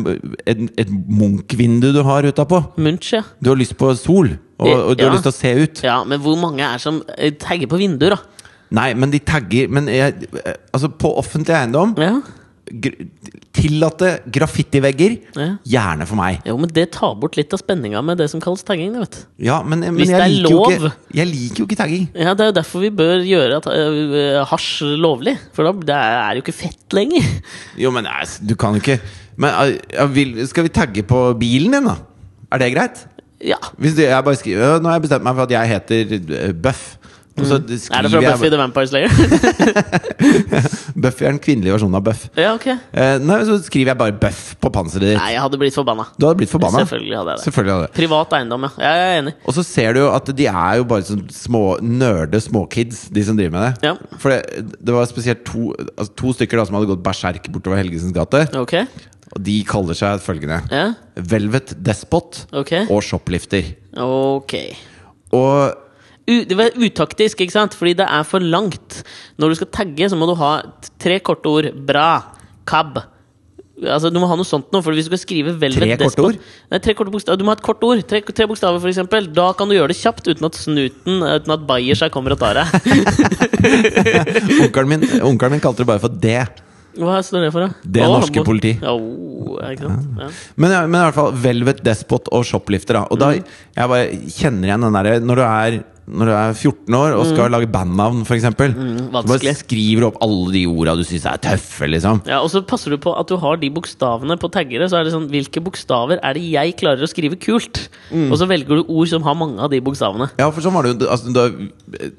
en, et Munch-vindu du har utapå.
Munch, ja.
Du har lyst på sol, og, og du
Ja.
har lyst til å se ut.
Ja, Men hvor mange er som eh, tagger på vinduer, da?
Nei, men de tagger Men jeg, altså på offentlig eiendom
Ja.
gr Tillatte graffitivegger.
Ja.
Gjerne for meg.
Jo, men det tar bort litt av spenninga med det som kalles tagging. det vet du.
Ja, men, men
Hvis
jeg,
det er
liker jo
lov.
ikke, jeg liker jo ikke tagging.
Ja, Det er jo derfor vi bør gjøre at, eh, eh, hasj lovlig. For da det er det jo ikke fett lenger.
Jo, men nei, s- du kan jo ikke Men eh, jeg vil, Skal vi tagge på bilen din, da? Er det greit?
Ja.
Hvis du, jeg bare skriver «Ja, Nå har jeg bestemt meg for at jeg heter eh, Bøff. Og så
Mm. Er det fra
skriver
Buffy
jeg
the Vampire Slayer? *laughs*
Buffy er den kvinnelige versjonen av Buff.
ja, ok
Eh, nei, så skriver jeg bare Buff på panseret ditt.
Nei, jeg hadde blitt forbanna.
Du hadde blitt forbanna.
Selvfølgelig hadde jeg det.
Selvfølgelig hadde det.
Privat eiendom, ja. Jeg er enig.
Og så ser du jo at de er jo bare sånn små nerde småkids, de som driver med det.
Ja.
For det, det var spesielt to, altså to stykker da som hadde gått berserk bortover Helgesens gate.
Ok,
Og de kaller seg følgende
ja,
Velvet Despot
ok
og Shoplifter.
Ok
Og
U Det var utaktisk, ikke sant? Fordi det er for langt. Når du skal tagge, så må du ha t- tre korte ord. Bra. Kab. Altså, du må ha noe sånt nå, for hvis du skal skrive Velvet
Tre korte
Despot-
ord?
Nei, tre korte bokstaver. Du må ha et kort ord. Tre, tre bokstaver, for eksempel. Da kan du gjøre det kjapt, uten at snuten Uten at Bayersha kommer og tar deg. *laughs*
onkelen min, onkelen min kalte det bare for det.
Hva står det for, da?
Det er
Å,
norske
må-
politi. Ah.
Ja, oh, er ikke sant? Ja.
Men, men i hvert fall Velvet Despot og Shoplifter. Da. Og da
Mm.
jeg bare kjenner igjen den derre når, du er- når du er 14 år og skal lage bandnavn, f.eks. eksempel så bare
Mm. vanskelig.
skriver du opp alle de orda du syns er tøffe, liksom.
Ja, Og så passer du på at du har de bokstavene på taggere. Så er det sånn, Hvilke bokstaver er det jeg klarer å skrive kult?
Mm.
Og så velger du ord som har mange av de bokstavene.
Ja, for sånn var det jo altså, da,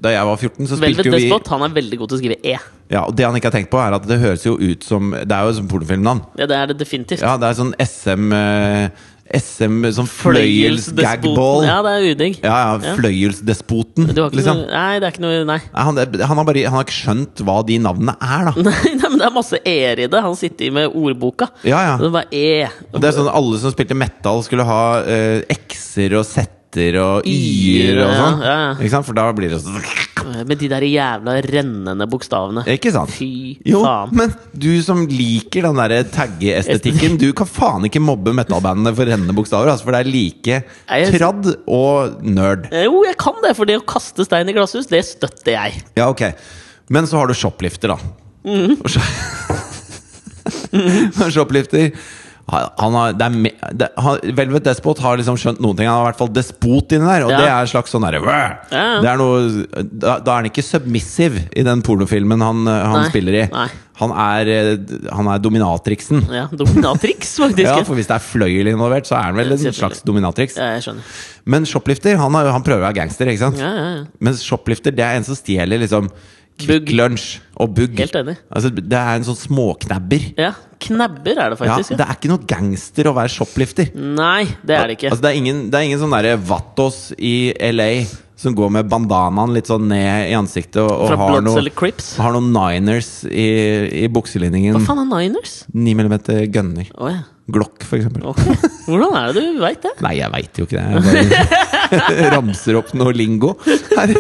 da jeg var 14, så spilte
Velvet
jo vi
Despot han er veldig god til å skrive E.
ja, Og det han ikke har tenkt på, er at det høres jo ut som Det er jo som pornofilmnavn.
Ja, Det er det definitivt.
Ja, det er sånn SM eh, SM Sånn
Fløyelsdespoten.
fløyels-gagball.
Ja, det er udigg.
Ja, ja,
Ja.
fløyelsdespoten,
Du har ikke
liksom.
noe, nei, det er ikke noe Nei.
Nei,
*laughs*
Han, han, har bare, han har ikke skjønt hva de navnene er, da.
Nei, nei, men det er masse E-er i det. Han sitter i med ordboka.
Ja, ja.
Så Det er bare E.
Og Det er sånn Alle som spilte metal, skulle ha eh, X-er og Z-er og
Y-er,
Y-er og
ja,
sånn.
ja, ja.
Ikke sant? For da blir det sånn
Med de der jævla rennende bokstavene.
Ikke sant?
Fy
Jo,
faen.
men du som liker den derre tagge-estetikken, du kan faen ikke mobbe metalbandene for rennende bokstaver, altså, for det er like
Nei, jeg-
tradd og nerd.
Eh, Jo, jeg kan det, for det å kaste stein i glasshus, det støtter jeg.
Ja, ok Men så har du shoplifter da
Mhm.
Og så- *laughs* Shoplifter han han har, det er, me- det, han, Velvet Despot har liksom skjønt noen ting Han har i hvert fall despot inni der Og
Ja.
det er en slags sånn der
Ja.
det er noe, da, da er han ikke submissive I den pornofilmen han, eh, han
Nei.
spiller i
Nei.
han er, eh, han er dominatriksen
Ja,
*laughs*
Dominatrix, faktisk.
Ja,
ja.
for hvis det er fløyel involvert Så er han vel en
Selvfølgelig.
slags dominatriks
Ja, jeg skjønner.
Men shoplifter, han, har, han prøver å være gangster, ikke sant?
Ja, ja, ja.
Mens shoplifter, det er en som stjeler liksom Kvikk
Bugg.
Lunsj og bugg.
Helt enig.
Altså, det er en sånn småknabber.
Ja, Knabber er det
Ja,
faktisk.
det
Ja,
er ikke noe gangster å være shoplifter.
Nei, det er det ikke.
Altså, det, er ingen, det er ingen sånn derre Vattos i LA som går med bandanaen litt sånn ned i ansiktet og, og
Fra
har,
Bloods
noe,
eller Crips.
har noen niners i, i bukselinningen.
Hva faen er Niners?
9 mm gunner.
Å ja.
Glock, for eksempel.
Ok. Hvordan er det du veit
*laughs*
det?
Nei, jeg veit jo ikke det. Jeg bare *laughs* ramser opp noe lingo. Her.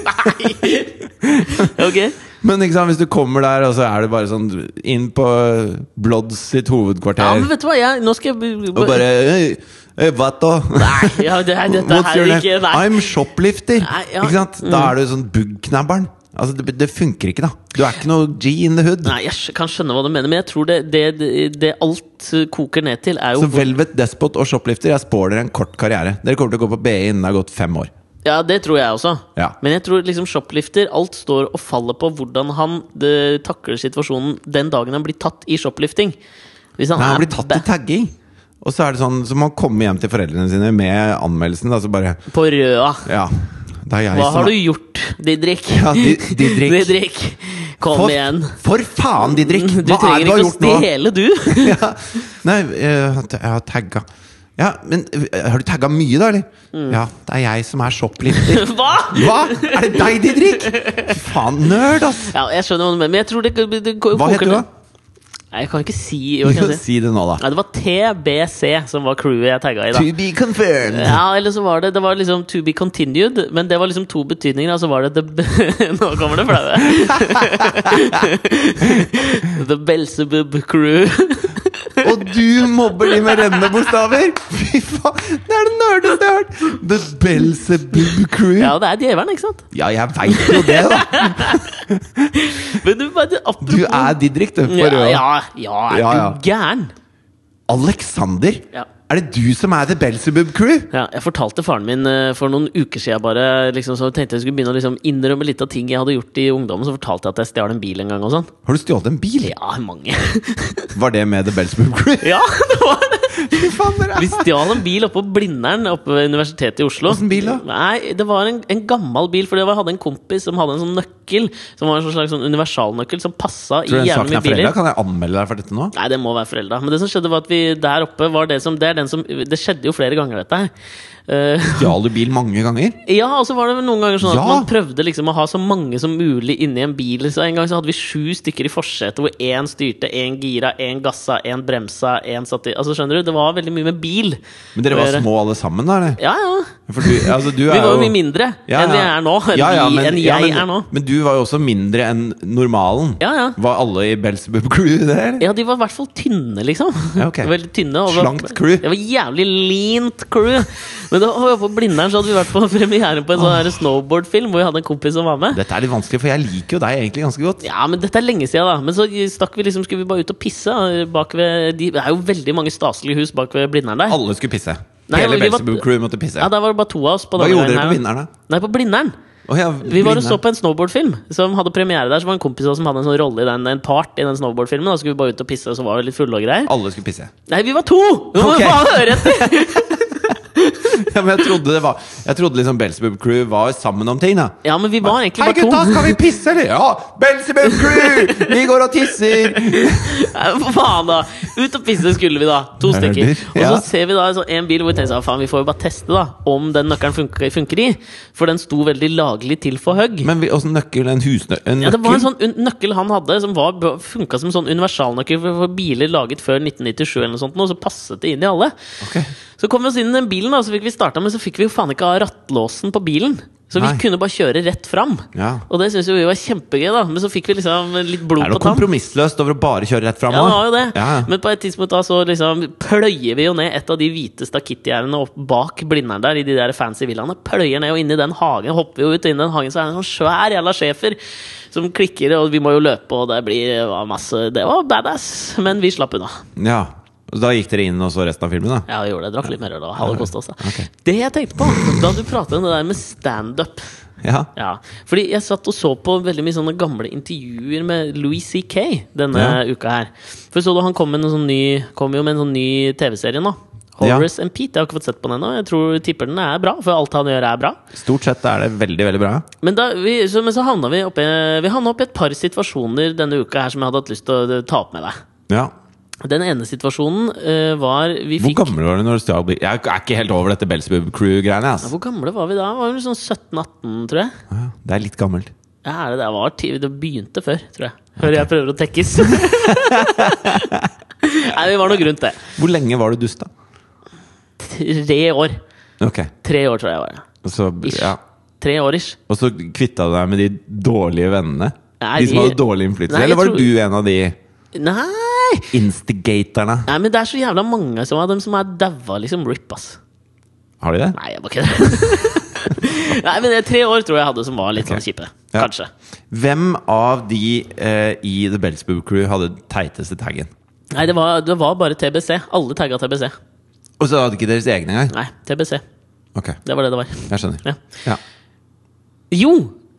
Ok.
Men ikke sant, hvis du kommer der, og så er det bare sånn inn på Bloods sitt
Ja, men
hovedkvarter
vet du hva, jeg Nå skal jeg b- b-
og bare «Øy, øy, hva da?
Nei, ja, det, her- dette
What's
her
your
er
name?
ikke Nei.
I'm shoplifter!
Nei, ja,
Ikke sant? Da er du sånn bugknabberen. Altså, det, det funker ikke, da. Du er ikke noe G in the hood.
Nei, jeg skj- kan skjønne hva du mener, men jeg tror det, det, det, det alt eh, koker ned til, er jo
Så Velvet Despot og shoplifter, jeg spår dere en kort karriere. Dere kommer til å gå på BI innen det har gått fem år.
Ja, det tror jeg også.
Ja.
Men jeg tror liksom shoplifter Alt står og faller på hvordan han eh, takler situasjonen den dagen han blir tatt i shoplifting. Hvis han,
Nei, han
er
blir tatt i tagging. Og så er det sånn, så må han komme hjem til foreldrene sine med anmeldelsen. Da, så bare
ba- på røda
Ja, det er jeg
Hva
som
har du gjort, Didrik?
*laughs* Ja, Di- Didrik.
Didrik, Kom
for,
igjen.
For faen, Didrik!
Du
Hva er det
trenger
du har
ikke å
gjort nå?
stjele, du.
*laughs* ja. Nei, eh, at jeg har tagga Ja, men eh, har du tagga mye, da, eller?
Mm.
Ja, det er jeg som er shoplifter.
*laughs* Hva?!
Hva?! Er det deg, Didrik?! Fy Faen, nerd, ass!
Ja, jeg skjønner hva du mener, men jeg tror det, det, det
Hva heter du, da?
Nei, jeg kan ikke si hva kan jeg si?
*laughs* Si det nå, da.
Nei, det var TBC som var crewet jeg tagga i, da.
To be confirmed.
Ja, eller så var det Det var liksom To be continued, men det var liksom to betydninger. Og så var det the, b- *laughs* Nå kommer
*laughs*
det flaue. the Belzebub Crew. *laughs*
Og du mobber de med rennende bokstaver! Fy faen, det er det nerdeste jeg har hørt! The Belzebub Crew.
Ja, det er djevelen, ikke sant?
Ja, jeg veit jo det, da!
Men du, bare apropos
Du er Didrik, du.
ja,
For å-
ja, ja, er
Ja, ja.
du gæren?
Alexander?
Ja.
Er det du som er The Belzebub Crew?
Ja, jeg fortalte faren min eh, for noen uker siden bare, liksom, så tenkte jeg skulle begynne å liksom, innrømme litt av ting jeg hadde gjort i ungdommen. Så fortalte jeg at jeg stjal en bil en gang og sånn. *laughs*
Har du stjålet en bil?
Ja, mange. *laughs*
Var det med The Belzebub Crew?
ja, det var det!
Fy faen, dere
Vi
er
stjal en bil oppe på Blindern oppe ved Universitetet i Oslo.
Hvordan bil da?
Nei, Det var en, en gammel bil, for jeg hadde en kompis som hadde en sånn nøkkel. Som var en sånn slags sånn universalnøkkel som passa i
Tror du den saken
jævlig mye
er forelda?
biler.
Kan jeg anmelde deg for dette nå?
Nei, det må være forelda. Men det som skjedde, var at vi der oppe var det som Det er den som Det skjedde jo flere ganger, dette her. Eh,
Stjal du bil mange ganger?
ja, og så var det vel noen ganger sånn
Ja.
at man prøvde liksom å ha så mange som mulig inni en bil. Så En gang så hadde vi sju stykker i forsetet, hvor én styrte, én gira, én gassa, én bremsa, én satt i Altså, skjønner du? Det var veldig mye med bil.
Men dere var
Dere-
små alle sammen, da? eller?
Ja, ja.
For du, altså, du er
Vi var
jo
jo mye mindre
Ja,
enn vi
ja.
er nå. Enn,
Ja, ja,
vi,
men-
enn jeg
ja, men-
er nå.
Men du var jo også mindre enn normalen.
Ja, ja.
Var alle i Belzebub Crew det? eller?
Ja, de var i hvert fall tynne, liksom.
Ja, ok.
*laughs* Veldig tynne og var-
Slankt crew.
Det var jævlig leant crew. Men da var vi oppe på Blindern, så hadde vi vært på premiere på en sånn her snowboardfilm hvor vi hadde en kompis som var med.
Dette er litt vanskelig, for jeg liker jo deg egentlig ganske godt.
Ja, men dette er lenge siden, da. Men så stakk vi liksom, skulle vi bare ut og pisse. da, Bak ved de, det er jo veldig mange staselige hus bak ved Blindern der.
Alle skulle pisse.
Nei,
Hele
vi var-
Belzebub Crew måtte pisse.
Ja, Der var det bare to av oss. på
Hva
denne
gjorde
veien
dere
her,
på
da.
vinnerne?
Nei, på Blindern.
Å, ja,
Vi var og
blinde.
så på en snowboardfilm som hadde premiere der. Så var det en kompis av oss som hadde en sånn rolle i den, en part i den snowboardfilmen. Da skulle vi bare ut og pisse, og så var vi litt fulle og greier.
Alle skulle pisse. *laughs*
Nei, vi var to! Du må
Ok.
jo faen høre etter! *laughs*
Ja, men jeg trodde det var Jeg trodde liksom Belzebub Crew var sammen om ting, da.
Ja, men vi var egentlig
Hei,
bare
gutta,
to.
skal vi pisse, eller? Ja! Belzebub Crew! Vi går og tisser!
Nei, for faen, da! Ut og pisse skulle vi, da. To
Nerder,
stykker. Og så
ja.
ser vi da en sånn- en bil hvor vi tenker sånn, faen, vi får jo bare teste da om den nøkkelen funker, funker i. For den sto veldig laglig til for hugg.
Men vi- åssen nøkkel? En husnøkkel? En
Ja, det var en
nøkkel?
sånn un- nøkkel han hadde som var- funka som en sånn universalnøkkel for for biler laget før 1997, eller noe sånt, og så passet det inn i alle.
Ok.
Så kom vi oss inn i den bilen, da, så fikk vi starta, men så fikk vi jo faen ikke av rattlåsen på bilen. Så vi
Nei.
kunne bare kjøre rett fram.
Ja.
Og det syntes jo vi var kjempegøy, da. Men så fikk vi liksom litt blod
Er det noe
på tann.
kompromissløst over å bare kjøre rett fram?
Ja, det var jo det.
Ja.
Men på et tidspunkt da så liksom pløyer vi jo ned et av de hvite stakittgjerdene opp bak Blindern der, i de der fancy villaene. Pløyer ned og inn i den hagen. Hopper jo ut og inn i den hagen, så er det en sånn svær jævla schæfer som klikker, og vi må jo løpe, og det blir det var masse Det var badass, men vi slapp unna.
ja. Og Da gikk dere inn og så resten av filmen, da?
Ja, vi gjorde det. Drakk litt mer øl og hadde kost oss. da.
Ok.
Det jeg tenkte på da du pratet om det der med standup
Ja.
ja. Fordi jeg satt og så på veldig mye sånne gamle intervjuer med Louis C.K. denne
Ja.
uka her. For så du han kom, med en sånn ny, kom jo med en sånn ny TV-serie nå. Horace and Pete. Jeg har ikke fått sett på den ennå. Jeg tror tipper den er bra, for alt han gjør, er bra.
Stort sett er det veldig, veldig bra.
Men, da, vi, så, men så havna vi oppi Vi havna oppi et par situasjoner denne uka her som jeg hadde hatt lyst til å eh, ta opp med deg.
Ja.
Den ene situasjonen eh, var Vi
Hvor
fikk
gammel var du når du stjal bil? Jeg er ikke helt over dette Belzebub Crew-greiene.
Ja,
ass.
Hvor gamle var vi da? Var vi sånn 17-18, tror jeg?
Ja, Det er litt gammelt.
Ja, er det, det, var ti, det begynte før, tror jeg. Før jeg prøver
*laughs*
å tekkes. Nei, vi var noe rundt det.
Hvor lenge var du dust, da?
Tre år.
Ok,
Tre år, tror jeg var. det.
og så,
Ish.
ja.
Tre år ish.
og så kvitta du deg med de dårlige vennene?
Nei,
de som
de-
hadde dårlig innflytelse?
Nei, jeg
Eller var
tror-
du en av de
Nei!
instigatorene?
Nei, men det er så jævla mange som av dem som er daua, liksom. Rip, ass.
Har de det?
Nei, jeg bare kødder. *laughs* Nei, men det er tre år tror jeg hadde som var litt sånn
Ok.
kjipe.
Ja.
Kanskje.
Hvem av de eh, i The Belzebub Crew hadde den teiteste taggen?
Nei, det var, det var bare TBC. Alle tagga TBC.
Og så hadde ikke deres egne engang?
Nei, TBC.
Ok,
Det var det det var.
jeg skjønner.
Ja.
Ja.
Jo!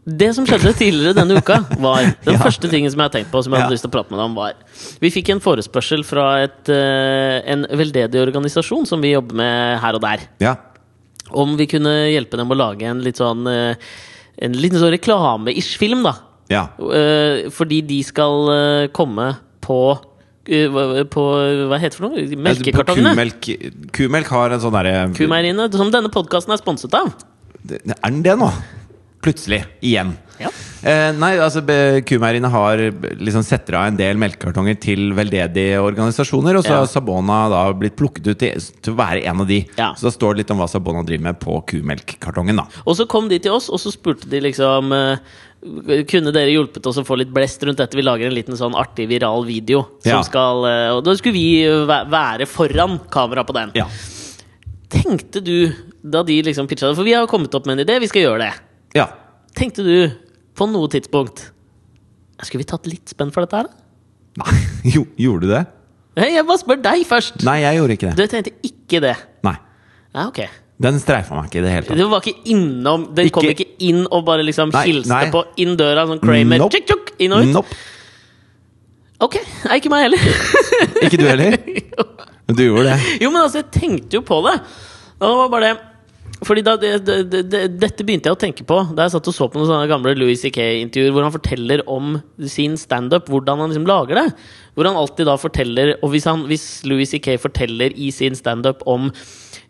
Det som skjedde tidligere denne uka, var
*laughs*
Den
Ja.
første tingen som jeg har tenkt på, som jeg hadde
Ja.
lyst til å prate med deg om, var Vi fikk en forespørsel fra et, eh, en veldedig organisasjon som vi jobber med her og der,
ja.
om vi kunne hjelpe dem å lage en litt sånn eh, En liten sånn reklame-ish-film, da.
Ja.
Eh, Fordi de skal eh, komme på eh, hva- på Hva heter det for noe? Melkekartongene?
Kumelk, kumelk Altså, har en sånn derre
Kumeieriene, som denne podkasten er sponset av.
Er den det nå? Plutselig. Igjen.
Ja.
Eh, nei, altså be- Kumeieriene har be- liksom setter av en del melkekartonger til veldedige organisasjoner, og så
Ja.
har Sabona da blitt plukket ut til, til å være en av de.
Ja.
Så da står det litt om hva Sabona driver med på kumelkkartongen, da.
Og så kom de til oss, og så spurte de liksom eh, Kunne dere hjulpet oss å få litt blest rundt dette? Vi lager en liten sånn artig viral video.
Ja.
Som skal, eh, og da skulle vi eh, væ- være foran kamera på den.
Ja.
Tenkte du, da de liksom pitcha det For vi har jo kommet opp med en idé, vi skal gjøre det.
ja.
Tenkte du på noe tidspunkt Skulle vi tatt litt spenn for dette her, da?
Nei, *laughs* jo, gjorde du det?
Hei, jeg bare spør deg først!
Nei, jeg gjorde ikke
Du
det.
tenkte ikke det.
Nei.
Ja, ok.
Den streifa meg ikke i det hele tatt.
Det var ikke innom Den kom
Ikke-
ikke inn og bare liksom
Nei,
hilste
nei.
på inn døra, sånn Kramer.
Nope.
Tjukk, tjukk, inn og ut.
Nope.
Ok. Nei, ikke meg heller. *laughs*
Ikke du heller? Du gjorde det.
Jo, men altså, jeg tenkte jo på det. Og det var bare det fordi da, det, det, det, Dette begynte jeg å tenke på da jeg satt og så på noen sånne gamle Louis C.K.-intervjuer hvor han forteller om sin standup, hvordan han liksom lager det. Hvor han alltid da forteller Og hvis, han, hvis Louis C.K. forteller i sin standup om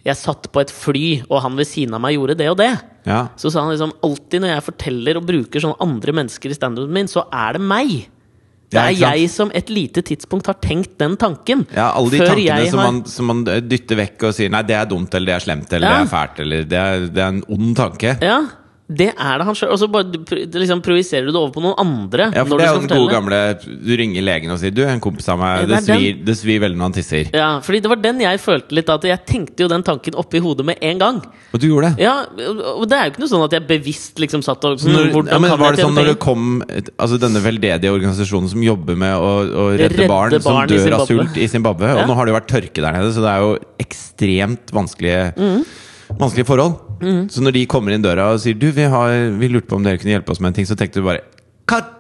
Jeg satt på et fly, og han ved siden av meg gjorde det og det.
Ja.
Så sa han liksom alltid når jeg forteller og bruker sånne andre mennesker i standupen min, så er det meg. Det
Ja,
er
ikke sant?
jeg som et lite tidspunkt har tenkt den tanken.
Ja, alle de
før
tankene
jeg
som,
har-
man, som man dytter vekk og sier Nei, det er dumt, eller det er slemt, eller
Ja.
det er fælt, eller det er, det er en ond tanke.
Ja, det er det han sjøl. Og så bare pr- liksom projiserer du det over på noen andre.
Ja, for
når
det er
du
jo
skal
den gode
fortelle.
gamle Du ringer legen og sier Du, en kompis av meg,
Ja,
det
det er
svir, det svir veldig når han tisser.
Ja, fordi det var den jeg følte litt. At jeg tenkte jo den tanken oppi hodet med en gang.
Og du gjorde det.
Ja, og og det er jo ikke noe sånn at jeg bevisst liksom satt og
Så Når,
hvordan
ja, men
kan
var
jeg
det sånn
tjene
når det
penger?
kom et- Altså denne veldedige organisasjonen som jobber med å, å redde,
Redde
barn, som
barn i
dør av
Zimbabwe.
sult i Zimbabwe? Og
Ja.
nå har det jo vært tørke der nede, så det er jo ekstremt vanskelige,
Mm.
vanskelige forhold. Så når de kommer inn døra og sier Du, vi, har, vi lurte på om dere kunne hjelpe oss med en ting, så tenkte du bare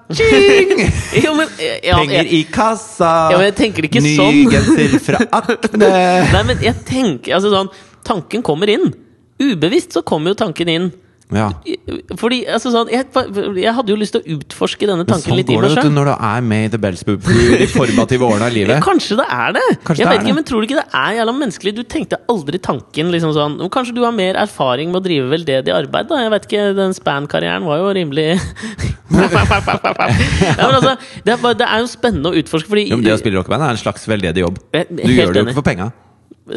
Ka-ching!
jo, men, *laughs* ja,
Penger
jeg,
i kassa!
Ja, men jeg tenker det ikke
Ny
sånn.
genser fra Akne!
*laughs* Nei, men jeg tenker Altså sånn Tanken kommer inn. Ubevisst så kommer jo tanken inn.
Ja.
Fordi, altså sånn Jeg, jeg hadde jo lyst til å utforske denne
Men
tanken
sånn
litt i
går det
meg
vet
sjøl.
du, når du er med i The Bellspoop i de formative årene av
*laughs* Ja,
livet.
Kanskje det er det!
Kanskje
jeg
det er
vet ikke,
det.
men Tror du ikke det er jævla menneskelig? Du tenkte aldri tanken liksom sånn «Å, Kanskje du har mer erfaring med å drive veldedig arbeid, da? Jeg vet ikke, den span-karrieren var jo rimelig *laughs* ja, men altså, det, er bare, det er jo spennende å utforske, fordi
Jo, men det å spille rockeband er en slags veldedig jobb.
Jeg-
Du
helt
gjør det jo
enig.
ikke for penga.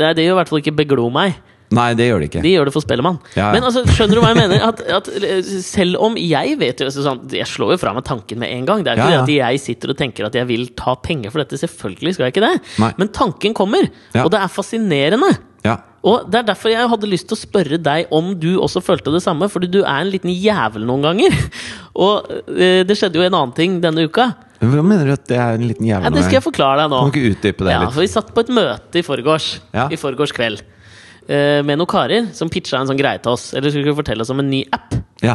Nei, det gjør i hvert fall ikke Beglo meg.
Nei, det gjør det ikke.
De gjør det for Spellemann.
Ja, ja.
Men altså, skjønner du hva jeg mener? At, at eh, selv om jeg vet jo altså, sånn, Jeg slår jo fra meg tanken med en gang. Det er ikke
Ja, ja.
det at jeg sitter og tenker at jeg vil ta penger for dette. Selvfølgelig skal jeg ikke det.
Nei.
Men tanken kommer,
Ja.
og det er fascinerende.
Ja.
Og Det er derfor jeg hadde lyst til å spørre deg om du også følte det samme. Fordi du er en liten jævel noen ganger. *laughs* Og eh, det skjedde jo en annen ting denne uka.
Men Hva mener du at det er en liten jævel?
Ja, det skal jeg forklare deg nå.
Kan du ikke utdype det
Ja,
litt?
for Vi satt på et møte i forgårs
Ja.
I forgårs kveld eh, med noen karer som pitcha en sånn greie til oss. Eller skulle fortelle oss om en ny app.
Ja.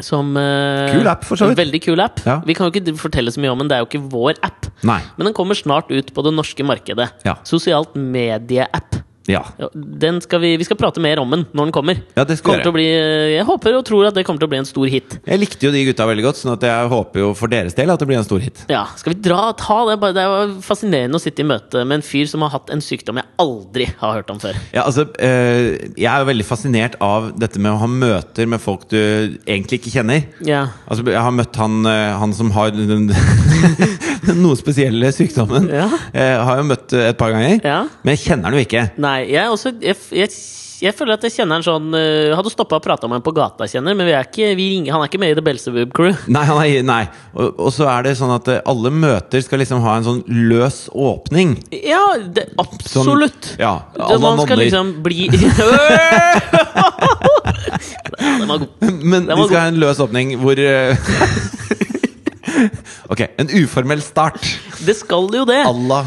Som, eh,
Kul app, for så vidt.
en Veldig kul app.
Ja.
Vi kan jo ikke fortelle så mye om den, det er jo ikke vår app.
Nei.
Men den kommer snart ut på det norske markedet.
Ja.
Sosialt medie-app.
Ja.
Ja, Den skal vi, vi skal prate mer om den når den kommer.
Ja, det skal
Kommer
jeg
til å
gjøre.
bli, eh, jeg håper og tror at det kommer til å bli en stor hit.
Jeg likte jo de gutta veldig godt, sånn at jeg håper jo for deres del at det blir en stor hit.
Ja, skal vi dra ta det? Bare- Det er jo fascinerende å sitte i møte med en fyr som har hatt en sykdom jeg aldri har hørt om før.
Ja, altså, eh, jeg er jo veldig fascinert av dette med å ha møter med folk du egentlig ikke kjenner.
Ja,
Altså, jeg har møtt han, eh, han som har *laughs* den, den noe spesielle sykdommen.
Ja.
Eh, har jeg møtt eh, et par ganger.
Ja.
Men jeg kjenner han jo ikke.
Nei, jeg, er også, jeg, f- jeg, s- jeg føler at jeg kjenner han sånn eh, Hadde stoppa og prata med han på gata, jeg kjenner men vi er ikke, vi ringer, han er ikke med i The Belzebub Crew. *laughs*
Nei, han er, nei. Og, og så er det sånn at eh, alle møter skal liksom ha en sånn løs åpning.
Ja, det,
Sånn-
absolutt!
Ja,
det,
alle
man skal
nonner.
liksom bli *laughs* Ja, Den var god.
Men
Den
vi skal
var god.
ha en løs åpning hvor eh, *laughs* Ok, en uformell start.
Det skal jo det.
Alla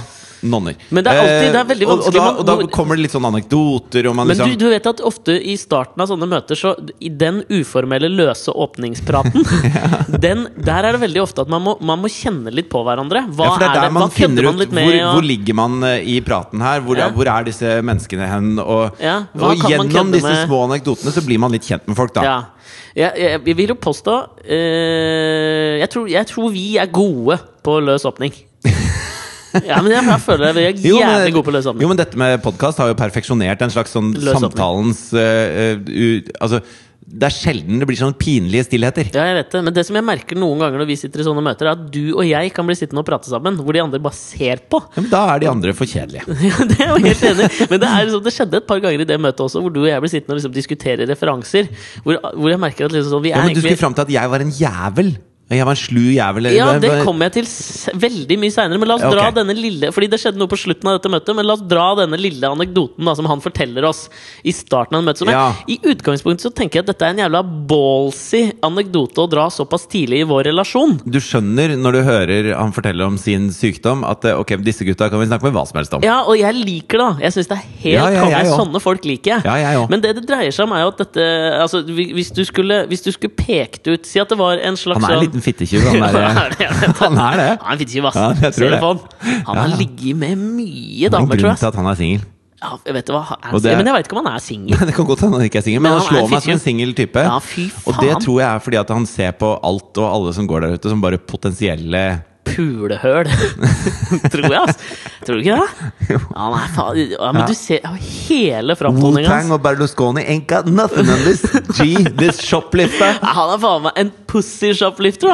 nonner. Eh,
Men det er alltid- det er veldig
og-
vanskelig,
Og, da, og
men-
da kommer det litt sånn anekdoter. Og man
Men
liksom,
du, du vet at ofte i starten av sånne møter, så i den uformelle, løse
*laughs*
åpningspraten, den, der er det veldig ofte at man må, man må kjenne litt på hverandre. Hva
ja, for det er der man
Hva kødder
finner
man
ut
litt med,
hvor,
og-
hvor ligger man eh, i praten her. Hvor,
Ja.
hvor er disse menneskene hen? Og,
Ja, hva
og
kan man
gjennom
kødde
disse
med?
små anekdotene så blir man litt kjent med folk, da.
Ja. Jeg, jeg, jeg vil jo påstå eh, jeg, tror, jeg tror vi er gode på løs åpning.
*laughs*
ja, men jeg, jeg føler vi er
Jo, men-
jævlig gode på løs åpning.
Jo, men dette med podkast har jo perfeksjonert en slags sånn
Løs åpning.
samtalens eh, u, Altså, det er sjelden det blir sånne pinlige stillheter.
Ja, jeg vet det. Men det som jeg merker noen ganger når vi sitter i sånne møter, er at du og jeg kan bli sittende og prate sammen, hvor de andre bare ser på. *laughs*
Ja, men da er de andre for kjedelige.
Ja, det er jeg jo helt enig i. Men det, er liksom, det skjedde et par ganger i det møtet også, hvor du og jeg ble sittende og liksom diskutere referanser. Hvor, hvor jeg merker at liksom sånn, vi er
Ja, men du skulle
egentlig
fram til at jeg var en jævel. Jeg var en slu jævel.
ja,
Hva-
det
hva-
kommer jeg til s- veldig mye seinere. Men la oss
Ja, ok.
dra denne lille Fordi det skjedde noe på slutten av dette møtet. Men la oss dra denne lille anekdoten da, som han forteller oss i starten av det møtet. Som
Ja.
jeg, I utgangspunktet så tenker jeg at dette er en jævla ballsy anekdote å dra såpass tidlig i vår relasjon.
Du skjønner når du hører han fortelle om sin sykdom, at eh, ok, disse gutta kan vi snakke med hva som helst om.
Ja, og jeg liker det. da. Jeg syns det er helt
Ja, ja,
konge.
jeg òg.
Sånne folk liker jeg.
Ja, jeg òg.
Men det det dreier seg om, er jo at dette altså, hvi- Hvis du skulle, hvis du skulle pekt ut Si at det var en slags
Han er
sånn-
litt liten fittetyv,
*laughs*
han
Ja, det
der.
er det.
Han er det.
Han er en fittetyv, ass.
Ja, jeg tror
Ser
det.
på han. Han har
Ja.
ligget med mye
Det er en
damer, tror
grunn
jeg.
til at han er singel. *laughs*
Ja, vet du hva? Han Er
Og det er-
Men jeg veit ikke om han er singel.
Det kan godt hende han ikke er singel, men,
Men
han
han er
slår meg som
fittetyv.
en singel type.
Ja, fy faen.
og det tror jeg er fordi at han ser på alt og alle som går der ute, som bare potensielle *laughs*
Pulehøl. tror jeg, ass. Tror du ikke det? Han er faen ja, Men
Ja.
du ser ja, hele framtoninga hans.
Wu-Tang og Berlusconi ain't got nothing on *laughs* this G, this shoplifter.
Ja, Han er faen meg en pussy shoplifter,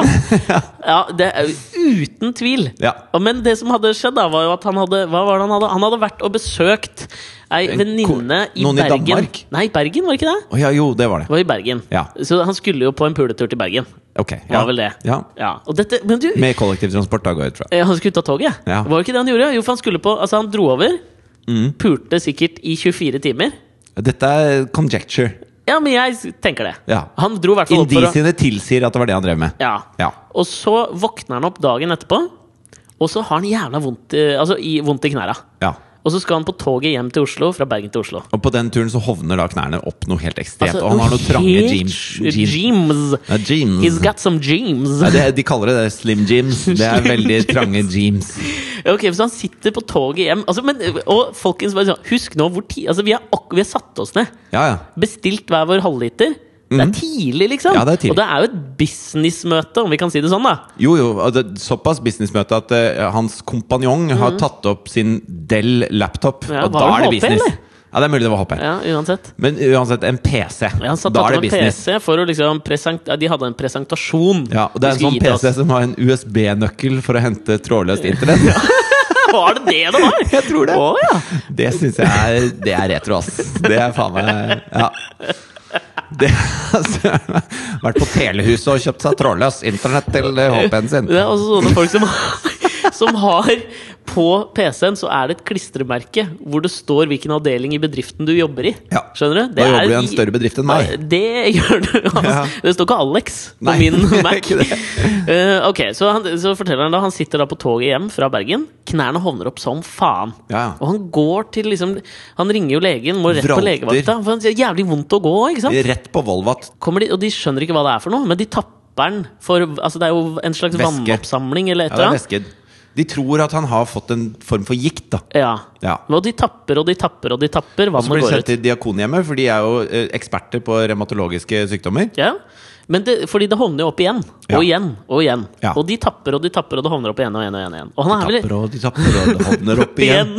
*laughs*
da. ja, det er jo uten tvil.
Ja.
Og- Men det som hadde skjedd, da, var jo at han hadde Hva var det han hadde? Han hadde vært og besøkt ei
En
venninne
ko-
i
noen i
Bergen.
Danmark?
Nei, Bergen, var det ikke det?
Å ja, jo, det var det.
Det var i Bergen.
Ja.
Så han skulle jo på en puletur til Bergen.
Ok.
Var vel det.
Ja.
Ja. Og dette Men du,
Med kollektivtransport, da går jeg ut fra.
Eh, Han skulle ta toget.
Ja. Mm.
Var det ikke det han gjorde? Jo, for han skulle på Altså, han dro over. Pulte sikkert i 24 timer.
Dette er conjecture.
Ja, men jeg s- tenker det.
Ja.
Han dro i hvert fall opp for å
Indisiene tilsier at det var det han drev med.
ja.
Ja.
Og så våkner han opp dagen etterpå, og så har han jævla vondt, eh, altså, i, vondt i knæra.
ja.
Og så skal han på toget hjem til Oslo, fra Bergen til Oslo.
Og på den turen så hovner da knærne opp noe helt ekstremt.
Altså,
og han har noen trange
helt
jeans. Mm.
sj- jeans.
Ja, jeans.
He's got some jeans.
Ja, det, de kaller det det slim jeans. Det er
Slim
veldig
*laughs* jeans.
trange jeans.
*laughs* Ok, Så han sitter på toget hjem. Altså, men, og folkens, bare sånn, husk nå hvor tid Altså, vi har, akk- vi har satt oss ned.
Ja, ja.
bestilt hver vår halvliter. Det er tidlig, liksom!
Mhm. Ja, det er tidlig.
Og det er jo et businessmøte, om vi kan si det sånn. da
Jo, jo. og Det, såpass businessmøte at eh, hans kompanjong har tatt opp sin Dell-laptop.
Mhm. Ja,
og da
var det
er det
HP,
business.
eller?
Ja, det er mulig det var HP.
Ja, uansett
Men uansett, en PC.
ja, Han satt
da
opp
er det
en
business.
PC for å liksom present ja, De hadde en presentasjon.
Ja, og det er en
De skulle
sånn
gi til
PC som har en USB-nøkkel for å hente trådløst internett.
*laughs* oss. *laughs* Var det det det var?!
*laughs* Jeg tror det.
Å, ja.
Det syns jeg er, det er retro, ass. Det er faen meg Ja. Det, altså, vært på telehuset og kjøpt seg trådløst internett til eh, HP-en sin.
Det er også sånne folk som, som har *laughs* På PC-en så er det et klistremerke hvor det står hvilken avdeling i bedriften du jobber i.
Ja.
Skjønner du?
Da jobber du i
er
en større bedrift enn meg.
Nei, Det gjør du. ass.
Ja.
Det står ikke Alex på
Nei,
min
*laughs* det er
Mac.
ikke det.
Eh, ok, så, han, så forteller han da Han sitter da på toget hjem fra Bergen. Knærne hovner opp som faen.
Ja.
Og han går til liksom Han ringer jo legen, må rett på
Vralter.
legevakta. For han sier jævlig vondt å gå, ikke sant?
Rett på Volvat.
kommer de, og de skjønner ikke hva det er for noe, men de tapper den for Altså, det er jo en slags
Væske.
vannoppsamling eller et
Ja, det er
eller annet.
væske. De tror at han har fått en form for gikt, da.
Ja.
Ja.
Og de tapper og de tapper og de tapper. Hva
Så
må
blir de
gå
sendt
ut?
til Diakonhjemmet, for de er jo eh, eksperter på revmatologiske sykdommer.
Ja. Men det, fordi det hovner jo opp igjen, og
Ja.
igjen, og igjen.
Ja.
Og de tapper og de tapper, og det hovner opp igjen og igjen. Og igjen, og igjen. Og han er
De
vel
tapper og de tapper og det
*laughs*
hovner opp igjen.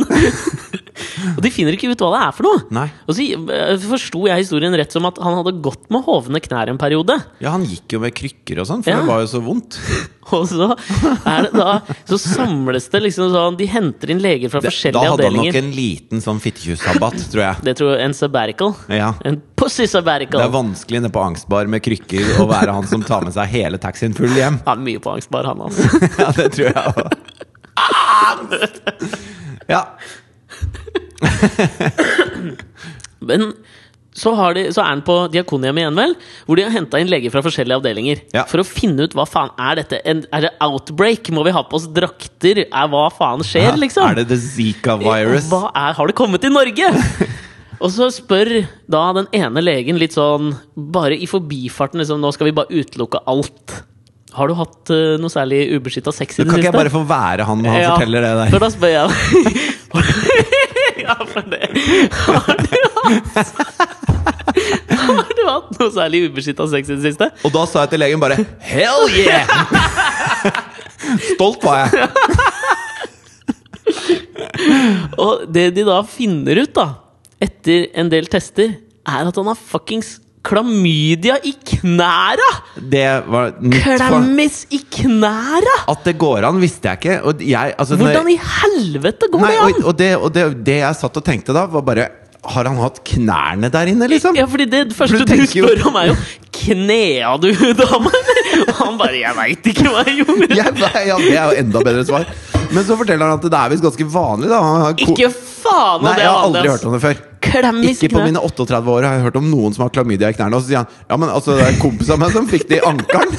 og de finner ikke ut hva det er for noe.
Nei.
Og så eh, forsto jeg historien rett som at han hadde gått med hovne knær en periode. *laughs*
Ja, han gikk jo med krykker og sånn, for
Ja.
det var jo så
*laughs*
vondt.
Og så, er det da, så samles det liksom sånn De henter inn leger fra
Det, da
forskjellige
hadde han
avdelinger.
nok en liten sånn fittekjusssabbat, tror
*laughs*
jeg.
Det tror jeg er en sabbatical.
Ja.
En pussy sabbatical.
Det er vanskelig nede på angstbar med krykker å være han som tar med seg hele taxien full hjem. *laughs*
han er mye på angst, bare han, altså.
Ja, det tror jeg
*laughs*
også. Ja.
Men så, har de, så er han på Diakonhjemmet igjen, vel? Hvor de har henta inn leger fra forskjellige avdelinger.
Ja.
For å finne ut hva faen er dette en, Er det outbreak? Må vi ha på oss drakter? Er, hva faen skjer, liksom?
Er det the Zika virus?
Hva er, har det kommet til Norge?
*laughs*
Og så spør da den ene legen litt sånn Bare i forbifarten, liksom. Nå skal vi bare utelukke alt. Har du hatt eh, noe særlig ubeskytta sex i det
Kan ikke
siste?
jeg bare få være han når han
Ja,
forteller det
For
der?
da spør jeg *laughs* Ja, for det Har du hatt Har du hatt noe særlig ubeskytta sex i det siste?
Og da sa jeg til legen bare Hell
*laughs*
yeah! Stolt var jeg.
Og det de da finner ut, da, etter en del tester, er at han har fuckings klamydia i knæra!
Det var nytt for
Klemmis i knæra!
At det går an, visste jeg ikke. Og jeg, altså, når-
Hvordan i helvete går
Nei,
det
og,
an?
og, det, og det, det jeg satt og tenkte da, var bare Har han hatt knærne der inne, liksom? *laughs*
Ja, fordi det første
For du
du
tenker jo-
spør om, er jo Knea du, *laughs* dame? Og han bare 'Jeg veit ikke hva jeg gjorde'.
Ja, nei, ja, det er jo enda bedre svar. Men så forteller han at det er visst ganske vanlig. Da. Han har ko-
Ikke faen om
Nei,
det
jeg har
var
aldri
det,
hørt om det før.
Klem i
Ikke på
knæ.
mine 38 år har jeg hørt om noen som har klamydia i knærne. Og så sier han ja, men altså, det er en kompis av meg som fikk det i ankelen.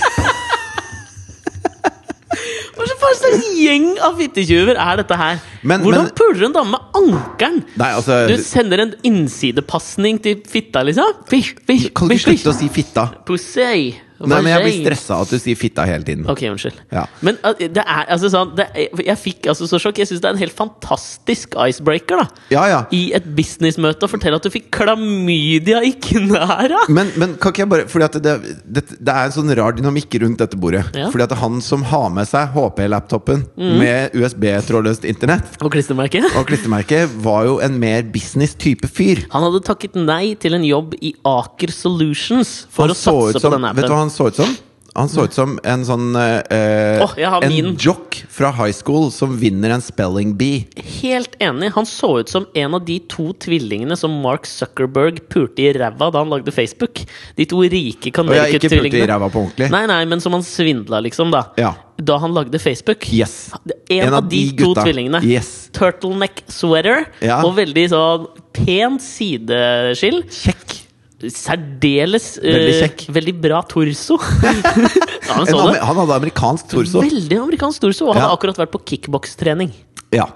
Hva slags- hva slags gjeng av fittetjuver er dette her?
Men-
Hvordan
men-
puler en dame med ankelen?
Nei, altså-
Du sender en innsidepasning til fitta, liksom? Fish, fish,
Kan du
fish,
ikke slutte
fish.
å si fitta?
Pussy.
Nei, men jeg blir
Vagina.
stressa av at du sier fitta hele tiden.
Ok, unnskyld.
Ja.
Men uh, det er altså sånn det er, Jeg fikk altså så sjokk. Jeg syns det er en helt fantastisk icebreaker. da
Ja, ja.
I et businessmøte å fortelle at du fikk klamydia i knæra!
Men, men kan ikke jeg bare Fordi at det, det, det er en sånn rar dynamikk rundt dette bordet.
Ja. Mm.
Fordi at han som har med seg HP-laptopen med USB-trådløst internett
Og klistremerke.
og klistremerke, var jo en mer business-type fyr.
Han hadde takket nei til en jobb i Aker Solutions for
Han
å
så
satse
ut som,
på
Vet
denne
du hva han
appen.
så ut som? Han så ut som en sånn eh,
Åh, jeg har
En
min.
jock fra high school som vinner en spelling bee.
Helt enig. Han så ut som en av de to tvillingene som Mark Zuckerberg pulte i ræva da han lagde Facebook. De to rike
Og jeg har ikke pult i
Connecticut-tvillingene.
ræva på ordentlig.
Nei, nei, men som han svindla, liksom, da.
Ja.
Da han lagde Facebook.
Yes.
Det er En, av de, to
gutta.
tvillingene.
Yes.
Turtleneck sweater
Ja.
og veldig sånn pent sideskill.
Kjekk.
Særdeles
Veldig
eh,
kjekk.
veldig bra torso. *laughs* ja, han
En,
så
amer-
det.
han hadde amerikansk torso.
Veldig amerikansk torso, og han
Ja.
har akkurat vært på kickbokstrening.
Ja.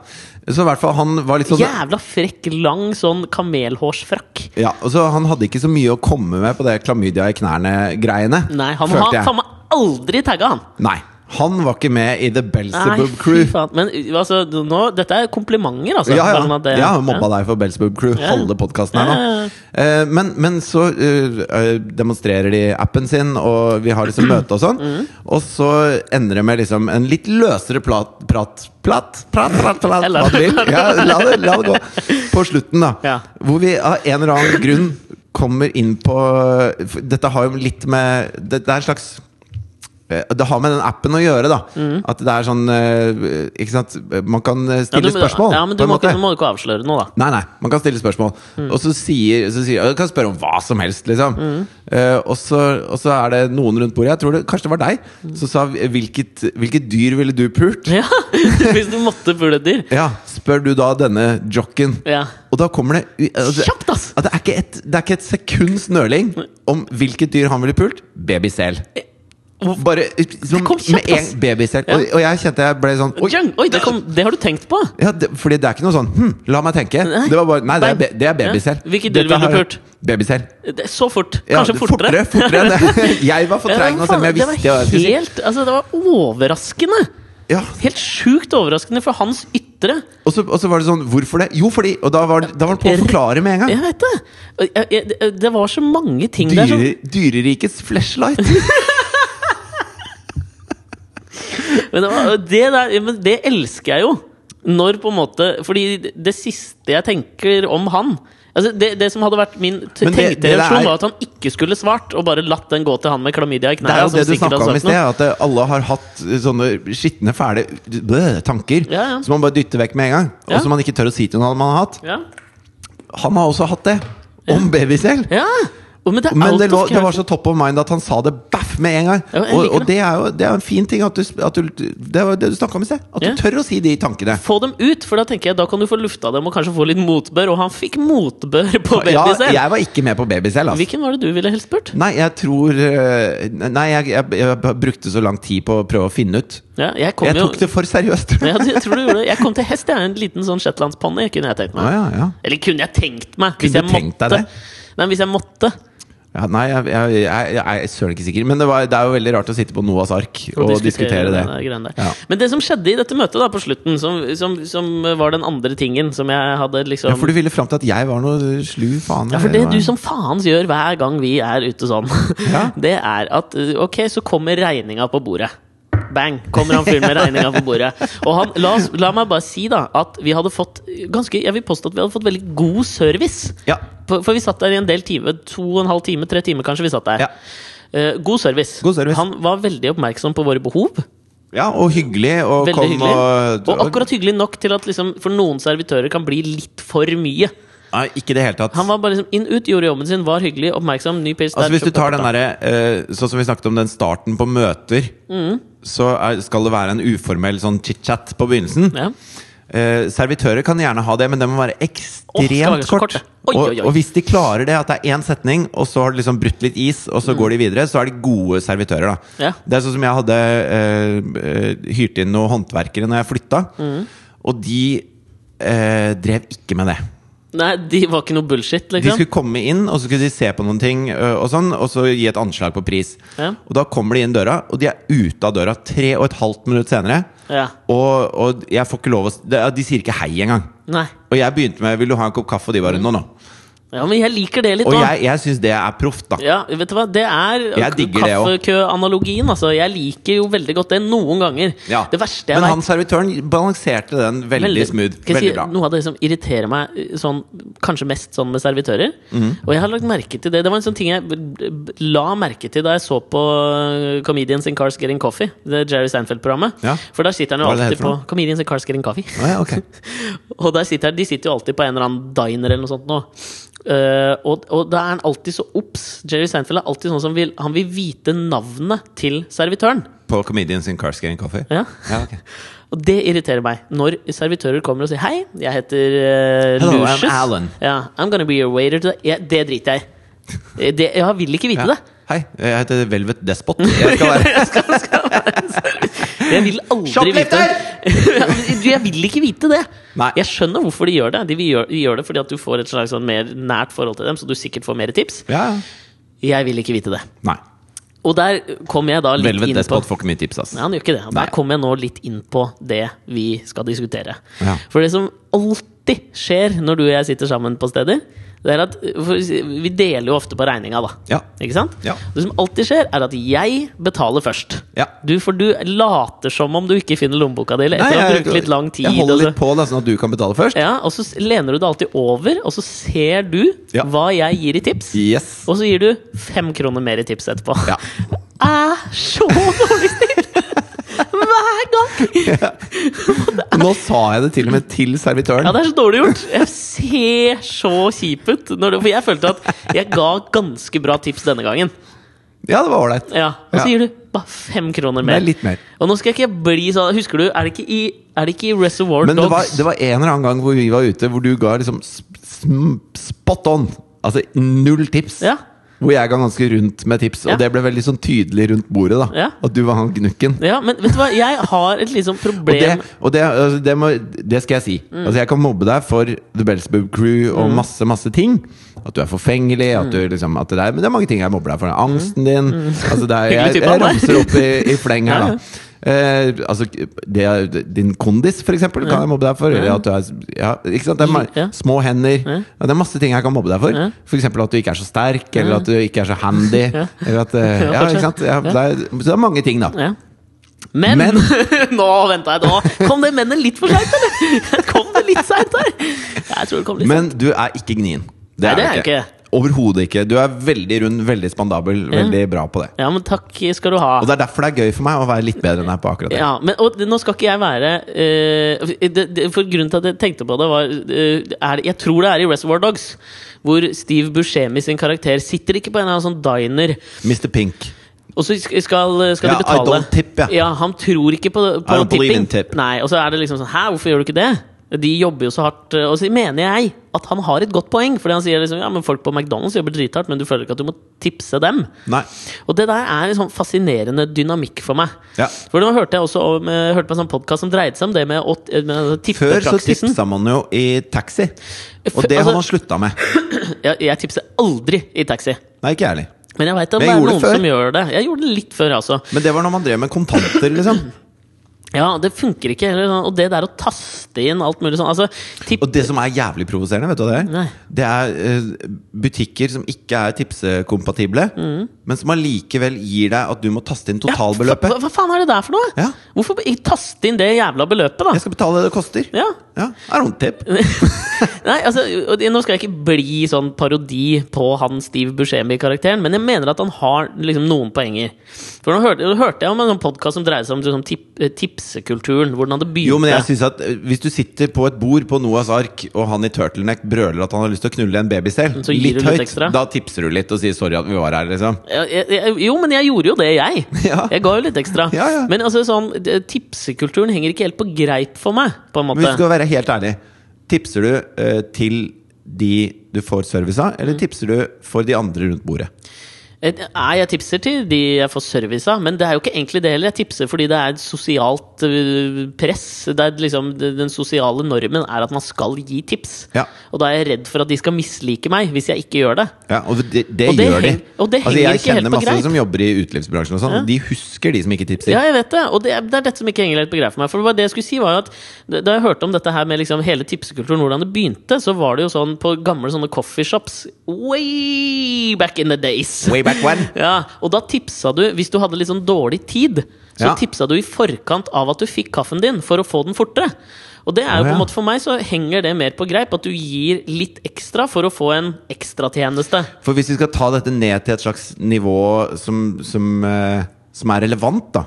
Så i hvert fall han var litt sånn
Jævla frekk, lang sånn kamelhårsfrakk.
Ja, og så Han hadde ikke så mye å komme med på det klamydia i knærne-greiene.
Nei, han
følte
har
jeg.
faen meg aldri tagga han!
Nei, han var ikke med i The
Nei,
Belzebub
fy
Crew.
faen. Men altså, nå, dette er komplimenter, altså.
Ja, ja.
Bare sånn at det-
Jeg har mobba deg for Belzebub Crew.
Ja.
Halve podkasten her
Ja, ja,
nå. Eh, Men, men så eh, eh, demonstrerer de appen sin, og vi har liksom møte og sånn.
Mm.
Og så ender det med liksom en litt løsere plat, prat Plat, prat, prat, prat,
Jeg lar
hva du
det- *laughs*
vil. Ja, la, det, la det gå. På slutten, da.
Ja.
Hvor vi av en eller annen grunn kommer inn på for Dette har jo litt med Det, det er en slags Eh, Det har med den appen å gjøre, da. At det er sånn eh, Ikke sant? Man kan eh,
Mm. Ja,
stille
du-
spørsmål,
Ja, men du
på en
må,
måte.
ikke, du må ikke avsløre noe, da. *laughs*
Nei, nei, man kan stille spørsmål.
Mm.
Og så sier, så sier Du kan spørre om hva som helst, liksom. Eh, og, så, og så er det noen rundt bordet, jeg tror det, kanskje det var deg,
Mm.
som sa hvilket, 'Hvilket dyr ville du pult?'
Ja, Hvis du måtte pule et dyr.
Ja, spør du da denne jocken.
Ja.
Og da kommer det u- altså,
Kjapt, ass!
ja, det, er ikke et, det er ikke et sekunds nøling om hvilket dyr han ville pult. Babysel.
Hvorfor-
Bare som,
Eh, kom kjapt,
med en
ass.
babysel.
Ja.
Og, og jeg kjente jeg ble sånn Oi!
Jang, Oi, det, kom, det har du tenkt på?
Ja, det, fordi det er ikke noe sånn hm, La meg tenke.
Nei.
Det var bare Nei, det er,
Nei.
be- det er babysel.
Ja. Hvilket dyr
Dette
ville du
her-
pult?
Babysel.
Det, så fort.
Ja,
Kanskje fortere.
Fortere, fortere
*laughs*
enn det. Jeg var for
Ja,
treig
men
nå,
faen,
selv om jeg
det var
visste hva jeg skulle si.
helt, altså, Det var overraskende.
Ja.
Helt sjukt overraskende for hans ytre.
Og, så, og så var det sånn Hvorfor det? Jo, fordi Og da var, da var han på å forklare med en gang.
Jeg vet det! Og jeg- jeg- Det det sånn. var så mange ting der som
Dyre, dyrerikets flashlight.
Men det, var, det, der, men det elsker jeg jo. Når på en måte Fordi det siste jeg tenker om han altså det, det som hadde vært min t-
Men det-
tenkte
det der
reaksjon,
er-
var at han ikke skulle svart, og bare latt den gå til han med klamydia i
Det er
knærne.
jo
som
det du
altså, sikkert sånn.
snakka
har
om i
sagt
sted,
noe.
at eh, alle har hatt eh, sånne skitne, fæle bløh, tanker
Ja, ja.
som man bare dytter vekk med en gang.
Ja.
Og som man ikke tør å si til noen man har hatt.
Ja.
Han har også hatt det. Om babysel.
ja. Og, men det er
Men
out
det, lå,
of
det var
character.
så top of mind at han sa det baff med en gang.
Ja, jeg
og
liker
og det, er jo, det er jo en fin ting at du, at du Det var det du snakka om i sted. At
Ja.
du tør å si de tankene.
Få dem ut, for da tenker jeg da kan du få lufta dem og kanskje få litt motbør. Og han fikk motbør på
Ja,
baby selv.
jeg var ikke med på babysel. Altså.
Hvilken var det du ville helst spurt?
Nei, jeg tror eh, Nei, jeg, jeg, jeg brukte så lang tid på å prøve å finne ut.
Ja, jeg kom
Jeg
jo
tok det for seriøst.
ja, du, tror du gjorde det. Jeg kom til hest, jeg. En liten sånn shetlandsponni kunne jeg tenkt meg.
Ja, ja, ja.
Eller kunne jeg tenkt meg? Hvis
Kunne
jeg
du tenkt
måtte.
deg det?
Nei, hvis jeg måtte.
*laughs* Ja, nei, jeg, jeg, jeg, jeg er søren ikke sikker. Men det, var, det er jo veldig rart å sitte på Noas ark og, diskutere det.
den greien der.
Ja.
Men det som skjedde i dette møtet da på slutten, som, som, som var den andre tingen som jeg hadde liksom
Ja, for du ville fram til at jeg var noe slu faen. eh,
Ja, for det
eller hva?
du som faens gjør hver gang vi er ute sånn,
Ja.
*laughs* det er at uh, Ok, så kommer regninga på bordet. Bang! Kommer han fyren med regninga på bordet. Og han, la, oss, la meg bare si da at vi hadde fått ganske Jeg vil påstå at vi hadde fått veldig god service.
Ja.
For, for vi satt der i en del timer. To og en halv time, tre timer kanskje. vi satt der
Ja.
Eh, god, service.
God service.
Han var veldig oppmerksom på våre behov.
ja, og hyggelig. Og
Veldig
kom
hyggelig.
og,
Og, akkurat hyggelig nok til at liksom, for noen servitører kan bli litt for mye.
Nei, ikke i det hele tatt.
Han var bare liksom inn ut, gjorde jobben sin, var hyggelig, oppmerksom, ny pils
Altså Hvis du tar den derre eh, Sånn som vi snakket om den starten på møter, så er, skal det være en uformell sånn chit-chat på begynnelsen.
ja.
Eh, servitører kan gjerne ha det, men det må være ekstremt
Åh, skal være så
kort.
kort. Oi,
og,
oi, oi.
og hvis de klarer det, at det er én setning, og så har de liksom brutt litt is, og så går de videre, så er de gode servitører. da
Mm. Ja.
Det er sånn som
Mm.
jeg hadde eh, eh, hyrt inn noen håndverkere når jeg flytta, og de eh, drev ikke med det.
Nei, de var ikke noe bullshit,
De
liksom.
skulle komme inn, og så skulle de se på noen ting, ø, og sånn Og så gi et anslag på pris.
Ja.
Og da kommer de inn døra, og de er ute av døra tre og et halvt minutt senere.
Ja.
Og, og jeg får ikke lov å s- De, de sier ikke hei engang.
Nei.
Og jeg begynte med 'Vil du ha en kopp kaffe?' Og de bare 'Nå, nå'.
Ja, men jeg liker det litt
Og
òg.
jeg, jeg syns det er proft, da.
Ja, vet du hva? Det er
Jeg digger det også.
kaffekø-analogien. Altså. Jeg liker jo veldig godt det noen ganger.
Ja.
Det verste jeg
Men
vet-
han servitøren balanserte den veldig, smooth.
Kan
Veldig
jeg si,
bra.
Noe av det som irriterer meg eh, sånn, kanskje mest sånn med servitører Og jeg har lagt merke til det. Det var en sånn ting jeg b- b- la merke til da jeg så på eh, Comedians in Cars Getting Coffee. Det Jerry Seinfeld-programmet.
Ja.
For der sitter han jo
Hva er det det
alltid
heter for
på Comedians in Cars Getting Coffee. *laughs*
Å ja, ok.
Og der sitter, de sitter jo alltid på en eller annen diner eller noe sånt nå. Eh, og, og da er han alltid så obs. Jerry Seinfeld er alltid sånn som vil, han vil vite navnet til servitøren.
På Comedians in Cars Getting Coffee?
Ja.
Ja, ok.
Og det irriterer meg. Når servitører kommer og sier 'hei, jeg heter uh,
Hello, I'm
Lucius'.
Alan.
Ja, I'm gonna be your waiter today. Ja, det driter jeg i. Det- Jeg vil ikke vite
Ja.
det.
Hei, jeg heter Velvet Despot.
*laughs*
Jeg skal være
Jeg vil aldri vite *laughs* Du, Jeg vil ikke vite det!
Nei.
Jeg skjønner hvorfor de gjør det. De vil gjøre- de gjør det fordi at du får et slags sånn mer nært forhold til dem, så du sikkert får mer tips.
ja.
Jeg vil ikke vite det.
Nei.
Og der kom jeg da litt
Velvet
inn på
Despot får ikke mye tips, ass.
Nei, han gjør ikke det.
Nei.
Der kommer jeg nå litt inn på det vi skal diskutere.
Ja.
For det som alltid skjer når du og jeg sitter sammen på steder, det er at for Vi deler jo ofte på regninga, da.
Ja.
Ikke sant?
Ja.
Det som alltid skjer, er at jeg betaler først.
Ja.
Du, for du later som om du ikke finner lommeboka di. Eller
Nei,
etter å ha
jeg,
brukt litt lang tid.
jeg
og
holder
så-
litt på, da, sånn at du kan betale først.
Ja, og så s- lener du deg alltid over, og så ser du
Ja.
hva jeg gir i tips.
Yes.
Og så gir du fem kroner mer i tips etterpå.
Ja.
Er så dårlig stil! Hver gang!
Nå sa jeg det til og med til
Ja,
servitøren.
det er så dårlig gjort. Jeg ser så kjip ut. Når det, for jeg følte at jeg ga ganske bra tips denne gangen.
Ja, det var ålreit.
Ja, Og så
Ja.
gir du bare fem kroner
Det
mer.
er litt mer.
Og nå skal ikke jeg bli sånn Husker du, er det ikke i, er det ikke i Reservoir
Men det
Dogs?
var, det var en eller annen gang hvor vi var ute, hvor du ga liksom sp- sm- spot on. Altså null tips.
Ja.
Hvor jeg ga ganske rundt med tips,
Ja.
og det ble veldig sånn tydelig rundt bordet. da
Ja.
At du var han gnukken.
Ja, men vet du hva, jeg har et liksom problem
Og det, og det, altså, det, må, det skal jeg si.
Mm.
Altså, jeg kan mobbe deg for The Belsbub Crew og masse masse ting. At du er forfengelig,
Mm.
at du liksom at det er, Men det er mange ting jeg mobber deg for. Angsten din altså, det er,
*laughs* Hyggelig
jeg,
type,
jeg
han der.
ramser opp i, i fleng her,
*laughs* Ja, ja.
da. Eh, altså, det er, din kondis, for eksempel, kan jeg mobbe deg for. Eller at du er, ja, ikke sant? Det er ma
Ja.
små hender. Ja, Det er masse ting jeg kan mobbe deg for.
Ja.
For eksempel at du ikke er så sterk, eller at du ikke er så handy. Eller at, eh,
*laughs* Ja,
ja,
kanskje.
ikke sant? Ja, det er, så det er mange ting, da.
Ja. Men,
Men-
*laughs* Nå venta jeg, nå kom det mennet litt for seint, eller? *laughs* Kom det litt seint her? Jeg tror det kom litt
Men du er ikke gnien.
Nei, det
du
er jeg ikke.
Overhodet ikke. Du er veldig rund, veldig spandabel, veldig bra på det.
Ja, men takk skal du ha.
Og det er derfor det er gøy for meg å være litt bedre enn deg på akkurat det.
Ja, men og, det- Nå skal ikke jeg være eh, det, det, For Grunnen til at jeg tenkte på det, var eh, er, det- Jeg tror det er i Reservoir Dogs. Hvor Steve Buscemi sin karakter sitter ikke på en eller annen sånn diner,
Mr. Pink.
og så sk- skal, skal
Ja,
de betale.
I don't tip, ja.
Han tror ikke på, på
I don't believe
tipping.
in tip.
Nei, Og så er det liksom sånn Hæ, hvorfor gjør du ikke det? De jobber jo så hardt. eh, Og så mener jeg at han har et godt poeng, fordi han sier liksom Ja, men folk på McDonald's jobber drithardt, men du føler ikke at du må tipse dem.
Nei.
Og det der er en sånn fascinerende dynamikk for meg.
Ja.
For nå hørte jeg også om, eh, hørte på en sånn podkast som dreide seg om det med, å, med
Før så
tippepraksisen.
tipsa man jo i taxi. Og
Før-
det
altså-
har man slutta med.
*clears throat* Jeg, jeg tipser aldri i taxi.
Nei, ikke jeg heller.
Men jeg veit at
Men
det
jeg
er
gjorde det
noen
før.
som gjør det. Jeg gjorde det litt før, altså.
Men det var når man drev med kontanter, liksom.
Ja, det funker ikke heller. sånn. Og det der å taste inn alt mulig sånn altså, tipp,
Og det som er jævlig provoserende, vet du hva det
Nei.
er? Det er eh, butikker som ikke er tipsekompatible, men som allikevel gir deg at du må taste inn
Mm. Ja,
totalbeløpet.
Hva, hva faen er det der for noe?
Ja.
Hvorfor b- ikke taste inn det jævla beløpet, da?
Jeg skal betale det det koster.
Ja.
Ja, er det tip?
*laughs* Nei, altså, og det- Nå skal jeg ikke bli sånn parodi på han Steve Buscemi-karakteren, men jeg mener at han har liksom noen poenger. For Nå hørte, nå hørte jeg om en podkast som dreide seg om liksom, tip, eh, tipsekulturen. Hvordan det begynte.
Jo, men jeg synes at eh, Hvis du sitter på et bord på Noahs ark, og han i turtleneck brøler at han har lyst til å knulle en baby selv,
Så gir
litt
du litt
høyt,
ekstra.
da tipser du litt og sier 'sorry at vi var her', liksom.
Ja, jeg, jeg, jo, men jeg gjorde jo det, jeg.
*laughs* Ja.
Jeg ga jo litt ekstra.
Ja, ja.
Men altså, sånn, det- tipsekulturen henger ikke helt på greip for meg. På en
Men hvis
måte.
du skal være helt ærlig, tipser du
Mm.
eh, til de du får service av, eller tipser du for de andre rundt bordet?
Et- Nei, jeg tipser til de jeg får service av, men det er jo ikke egentlig det heller. Jeg tipser fordi det er et sosialt øh, press. Det er liksom, det- den sosiale normen er at man skal gi tips.
Ja.
Og da er jeg redd for at de skal mislike meg hvis jeg ikke gjør det.
Ja, og det, det,
Og det
gjør de.
heng- og det
altså,
henger
jeg
ikke helt
kjenner
på
masse
greip.
som jobber i utelivsbransjen. Og sånn, og de husker de som ikke tipser.
Ja, jeg vet det. Og det, er- det er dette som ikke henger helt på greip for meg. For det, var det jeg skulle si var jo at Da da jeg hørte om dette her med liksom hele tipsekulturen, hvordan det begynte, så var det jo sånn på gamle sånne coffeeshops way back in the days.
Way back when.
*laughs* Ja, og da tipsa du, hvis du hadde litt sånn dårlig tid, så
Ja.
tipsa du i forkant av at du fikk kaffen din, for å få den fortere. Og det er
Å,
jo på en
ja.
måte for meg så henger det mer på greip, at du gir litt ekstra for å få en ekstratjeneste.
For hvis vi skal ta dette ned til et slags nivå som, som, eh, som er relevant, da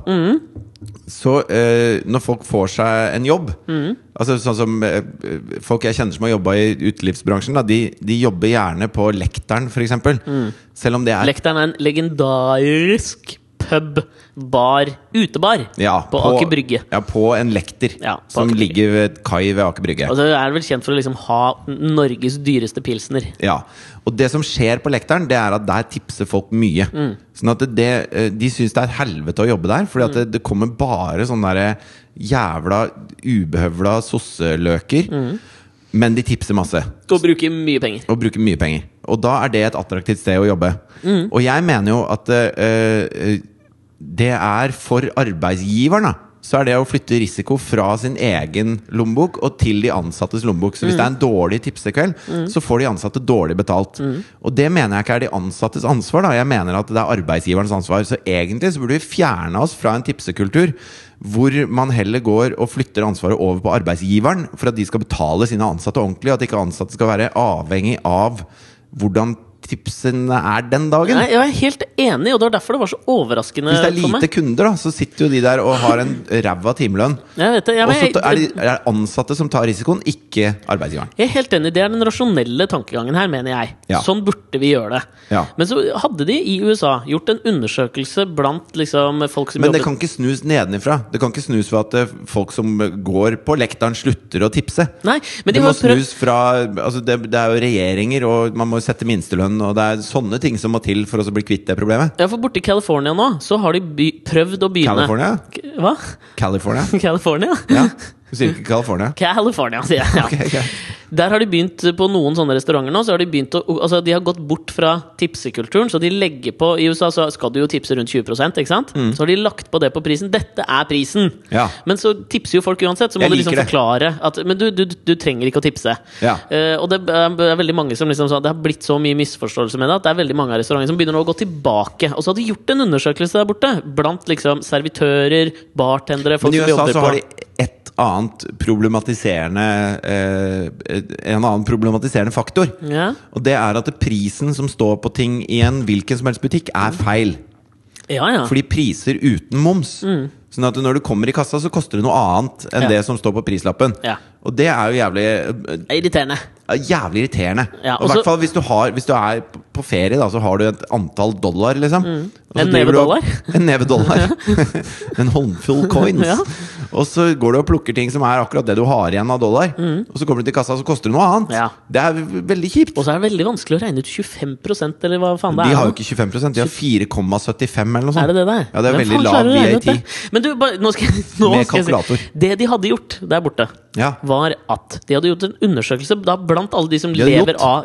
Så eh, når folk får seg en jobb Altså sånn som eh, Folk jeg kjenner som har jobba i utelivsbransjen, da, de, de jobber gjerne på Lekteren, f.eks. Mm. Selv om det er
Lekteren er en legendarisk pub, bar, utebar
ja,
på, Aker Brygge.
Ja, på en lekter
Ja, på
som
Aker Brygge.
ligger ved et kai ved Aker Brygge.
Og så er den vel kjent for å liksom ha Norges dyreste pilsner.
Ja, Og det som skjer på lekteren, det er at der tipser folk mye. Sånn at det, eh, De syns det er et helvete å jobbe der, Fordi at det, det kommer bare sånne der jævla ubehøvla sosseløker. Men de tipser masse
Og bruker mye penger.
og bruker mye penger. Og da er det et attraktivt sted å jobbe. Og jeg mener jo at eh, eh, det er for arbeidsgiveren, da. Så er det å flytte risiko fra sin egen lommebok og til de ansattes lommebok. Så hvis det er en dårlig tipsekveld, så får de ansatte dårlig betalt. Og det mener jeg ikke er de ansattes ansvar, da. Jeg mener at det er arbeidsgiverens ansvar. Så egentlig så burde vi fjerne oss fra en tipsekultur hvor man heller går og flytter ansvaret over på arbeidsgiveren for at de skal betale sine ansatte ordentlig, og at ikke ansatte skal være avhengig av hvordan tipsene er den dagen.
Nei, jeg er helt enig, og det var derfor det var så overraskende
Hvis det er
for
lite
meg.
kunder, da, så sitter jo de der og har en ræva timelønn.
Jeg vet det, ja,
Og
men
så
jeg-
ta- er det er det ansatte som tar risikoen, ikke arbeidsgiveren.
Jeg er helt enig, Det er den rasjonelle tankegangen her, mener jeg.
Ja.
Sånn burde vi gjøre det.
Ja.
Men så hadde de i USA gjort en undersøkelse blant liksom, folk som
Men det
jobbet
kan ikke snus nedenifra. Det kan ikke snus ved at eh, folk som går på lekteren, slutter å tipse.
Nei, men de
det
har
må
jo prøvd
snus fra altså det, det er jo regjeringer, og man må jo sette minstelønn, og det er sånne ting som må til for oss å bli kvitt det problemet.
ja, for Borte i California nå, så har de by prøvd å begynne
California?
K- Hva?
California?
*laughs* California?
Ja. Du sier ikke California?
California, sier jeg. Ja.
Ok, greit.
Der har de begynt på noen sånne restauranter nå Så har De begynt å, altså de har gått bort fra tipsekulturen. Så de legger på I USA så skal du jo tipse rundt 20 ikke sant? Så har de lagt på det på prisen. Dette er prisen!
Mm. Ja.
Men så tipser jo folk uansett. Så må
Jeg
du liksom
liker det.
forklare at Men du, du, du trenger ikke å tipse.
Ja.
Eh, og det er er veldig mange som liksom sa Det har blitt så mye misforståelse med det at det er veldig mange av restaurantene som begynner nå å gå tilbake. Og så har de gjort en undersøkelse der borte blant liksom servitører, bartendere *laughs* folk
Men i
som
USA
jobber
så
på-
har de et annet problematiserende eh, En annen problematiserende faktor.
ja.
Og det er at prisen som står på ting i en hvilken som helst butikk, er feil.
ja, ja.
Fordi priser uten moms. Sånn at når du kommer i kassa, så koster det noe annet enn
Mm. Ja.
det som står på prislappen.
Ja.
Og det er jo jævlig eh,
Det er Irriterende.
er jævlig irriterende.
Ja,
og I
og så-
hvert fall hvis du, har, hvis du er p- på ferie, da, så har du et antall dollar, liksom. Og så
Mm. En
driver
neve
du og-
dollar?
*laughs* En neve
*laughs*
dollar. en håndfull coins.
Ja.
Og så går du og plukker ting som er akkurat det du har igjen av dollar. Og så kommer du til kassa, så koster det noe annet.
Mm. Ja.
Det er v- veldig kjipt.
Og så er det veldig vanskelig å regne ut 25 eller hva faen det
De
er.
har jo
nå.
ikke 25 de har 4,75 eller noe sånt.
Er det det der?
Ja, det er
Hvem
veldig
faen
lav
klarer å regne ut
VAT.
det? Men du, bare, nå skal, jeg- nå
Med
skal jeg si-
kalkulator.
Det de hadde gjort der borte,
Ja.
var at de hadde gjort en undersøkelse da, blant alle de som
hadde
lever
gjort.
av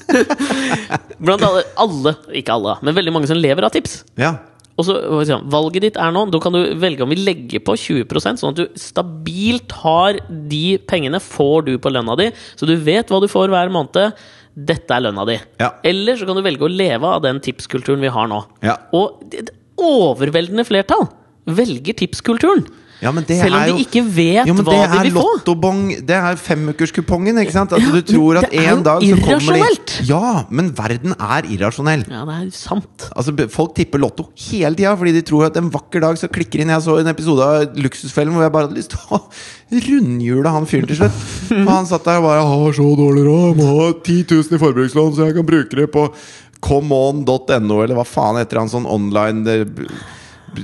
*laughs* Blant alle, alle, ikke alle, men veldig mange som lever av tips.
Ja.
Og så, hva skal jeg si, Valget ditt er nå Da kan du velge om vi legger på 20 sånn at du stabilt har de pengene får du på lønna di, så du vet hva du får hver måned. Dette er lønna di.
Ja.
Eller så kan du velge å leve av den tipskulturen vi har nå.
Ja.
Og det- det overveldende flertall velger tipskulturen.
Ja, men det
Selv om
er jo,
de ikke vet
jo, men
hva de vil
Det
få.
er lottobong, det er femukerskupongen, ikke sant? At
Ja,
du tror at
det er jo
en dag så kommer de
irrasjonelt.
Ja, men verden er irrasjonell.
Ja, det er sant.
Altså, be- Folk tipper lotto hele tida fordi de tror at en vakker dag så klikker inn Jeg så en episode av Luksusfellen hvor jeg bare hadde lyst til å *laughs* rundhjule han fyren til slutt. For han satt der og bare 'Jeg har så dårlig råd, må ha 10 000 i forbrukslån, så jeg kan bruke det på comeon.no', eller hva faen heter han sånn online eh, b-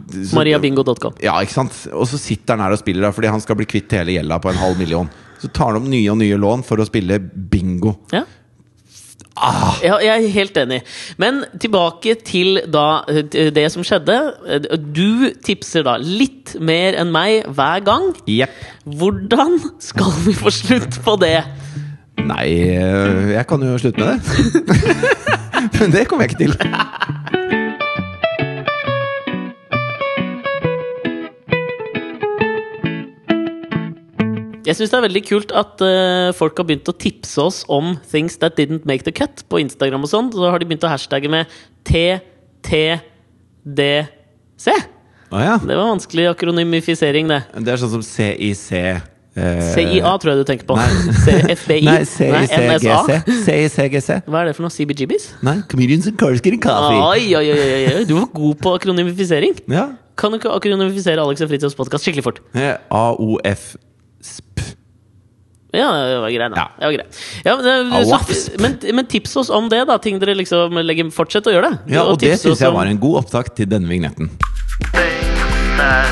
b- så-
MariaBingo.com.
ja, ikke sant? Og så sitter han her og spiller da, fordi han skal bli kvitt hele gjelda på en halv million. Så tar han opp nye og nye lån for å spille bingo.
Ja.
Ah.
Ja, jeg er helt enig. Men tilbake til da eh, det som skjedde. Eh, Du tipser da litt mer enn meg hver gang.
Jepp.
Hvordan skal vi få slutt på det?
Nei, eh, jeg kan jo slutte med det. Men det *laughs* kommer jeg ikke til.
Jeg syns det er veldig kult at eh, folk har begynt å tipse oss om things that didn't make the cut på Instagram og sånn. Så har de begynt å hashtagge med TTDC.
Å ja.
Det var vanskelig akronymifisering, det.
Det er sånn som CIC eh,
CIA tror jeg du tenker på.
Nei.
CFBI?
Nei,
NSA?
CICGC. CICGC.
Hva er det for noe? CBGBs?
Nei, Comedians and Cars Getting Coffee.
Oi, oi, oi, oi, oi. Du var god på akronymifisering.
Ja.
Kan du ikke akronymifisere Alex og Fritjofs podkast skikkelig fort?
Eh, AOF Sp.
Ja, det var grei,
Ja.
da. Det var grei. Ja, men, det-
Au,
så, men, men tips oss om det, da. Ting dere liksom legger, Fortsett å gjøre det.
Ja, og det
tips oss
syns jeg
om-
var en god opptak til denne vignetten.
things that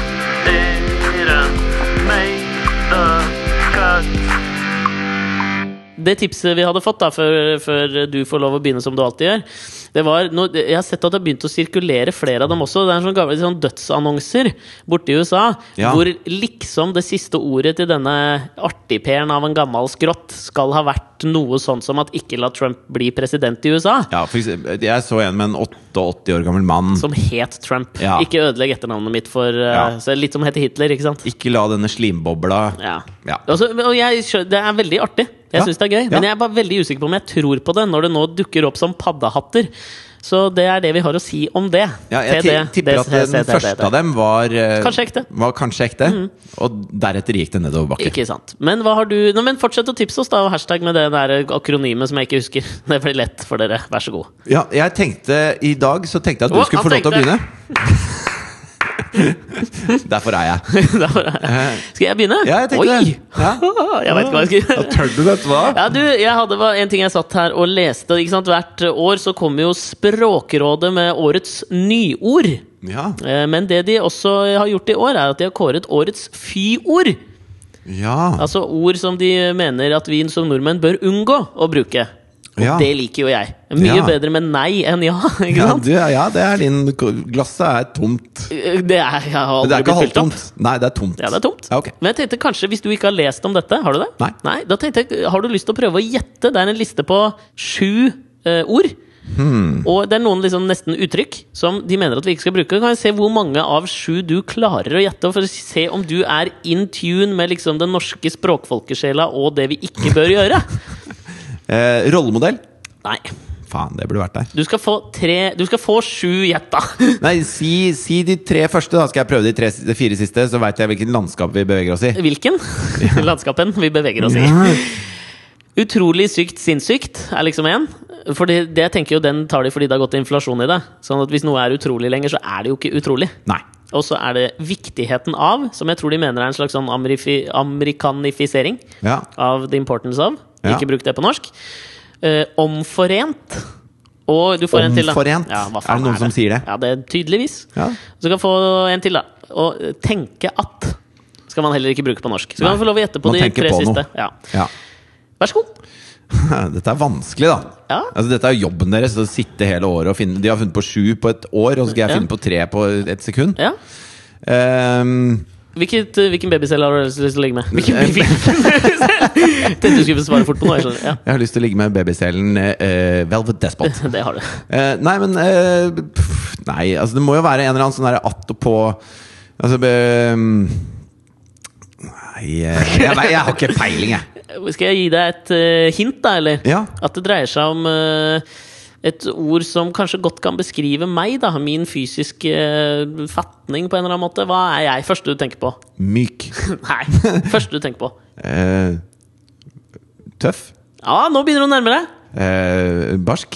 didn't make the cut.
Det tipset vi hadde fått, da, før, før du får lov å begynne som du alltid gjør det var, nå, Jeg har sett at det har begynt å sirkulere flere av dem også. Det er sånne gamle sånn dødsannonser borte i USA
Ja.
hvor liksom det siste ordet til denne artigperen av en gammel skrott skal ha vært noe sånn som at ikke la Trump bli president i USA.
Ja, for eksempel, jeg så en med en 88 år gammel mann.
Som het Trump.
Ja.
Ikke ødelegg etternavnet mitt for eh,
Ja.
så Litt som heter Hitler, ikke sant?
Ikke la denne slimbobla
Ja.
Ja.
Altså, og jeg, skjø- det er veldig artig. Jeg
Ja.
synes det er gøy.
Ja.
Men jeg er bare veldig usikker på om jeg tror på det når det nå dukker opp som paddehatter. Så det er det vi har å si om det.
Ja, jeg
TD,
ti- tipper at
DCC,
den første av dem var eh,
Kanskje ekte.
Var kanskje ekte Og deretter gikk det nedover bakken.
Mhm. Ikke sant. Men hva har du Nå, men fortsett å tipse oss, da. og Hashtag med det der akronymet som jeg ikke husker. *laughs* Det blir lett for dere.
*laughs*
Vær så god.
Ja, jeg tenkte I dag så tenkte jeg at du
Å,
skulle få
han
lov til å
tenkte.
begynne. *laughs* Derfor er jeg.
Da var det- Skal jeg begynne?
Eh. Ja, jeg tenkte
Oi! Ah,
det. Ah. Ja.
Jeg vet ikke hva jeg skal gjøre.
Tør du dette, hva?
Ja, du, jeg hadde var En ting jeg satt her og leste. Ikke sant? Hvert år så kommer jo Språkrådet med årets nyord.
Ja.
Eh, Men det de også har gjort i år, er at de har kåret årets fy-ord.
ja.
Altså ord som de mener at vi som nordmenn bør unngå å bruke. Og
Ja.
det liker jo jeg. Mye
Ah. Ja.
bedre med nei enn ja. *laughs* Ikke
Ja,
sant?
du, ja, det er din Glasset er tomt.
Det er, jeg har
Men det
aldri
er ikke
blitt fylt opp.
halvtomt. Nei, det er tomt.
Ja, det er tomt.
Ja, ok.
Men jeg tenkte kanskje, hvis du ikke har lest om dette, har du det?
Nei.
da tenkte jeg, Har du lyst til å prøve å gjette? Det er en liste på sju eh, ord.
Hmm.
Og det er noen liksom nesten uttrykk som de mener at vi ikke skal bruke. Kan jeg se hvor mange av sju du klarer å gjette, for å se om du er in tune med liksom den norske språkfolkesjela og det vi ikke bør gjøre?
*laughs* Eh, rollemodell?
Nei.
Faen, det burde vært der.
Du skal få tre Du skal få sju gjett,
*laughs*
da.
Nei, si, si de tre første, da. Skal jeg prøve de, tre, de fire siste, så veit jeg hvilket landskap vi beveger oss i.
Hvilken? Landskapen vi beveger oss i. Utrolig sykt sinnssykt er liksom én. For det, det tenker jo den tar de fordi det har gått inflasjon i det. Sånn at hvis noe er utrolig lenger, så er det jo ikke utrolig.
Nei.
Og så er det viktigheten av, som jeg tror de mener er en slags sånn amerifi, amerikanifisering
Ja.
av the importance of.
Ja.
Ikke bruk det på norsk. Eh, omforent. Og du får en til, da.
Omforent?
hva
Er det
faen
noen som sier det?
Ja, det er tydeligvis.
Ja.
Så kan du få en til, da. Og eh, tenke at skal man heller ikke bruke på norsk. Så
Nei.
kan du få lov å gjette på
Man
de
tenker
tre
på noe.
siste. Ja.
ja.
Vær så god.
*laughs* Dette er vanskelig, da.
Ja.
Altså, dette er jo jobben deres. Å sitte hele året og finne De har funnet på sju på et år, og så skal jeg
Ja.
finne på tre på et sekund.
Ja.
Ehm,
Hvilket, eh, hvilken babycelle har du lyst til å
*laughs*
ligge med? Hvilken, hvilken babycelle? *laughs* Tenkte du skulle svare fort på noe. Jeg skjønner.
jeg har lyst til å ligge med babycellen eh, Velvet
*laughs*
Despot.
Ja, *laughs* det har du.
Eh, nei, men eh, pff, Nei, altså det må jo være en eller annen sånn der att og på Altså be, Nei, eh, jeg, vei- jeg har ikke peiling, jeg.
Skal jeg gi deg et eh, hint, da, eller?
Ja.
At det dreier seg om eh, et ord som kanskje godt kan beskrive meg, da. Min fysiske eh, fatning, på en eller annen måte. Hva er jeg? Første du tenker på? *laughs*
Myk.
Nei. Første du tenker på.
Eh, tøff.
Ja, nå begynner du å nærme deg.
Eh, barsk.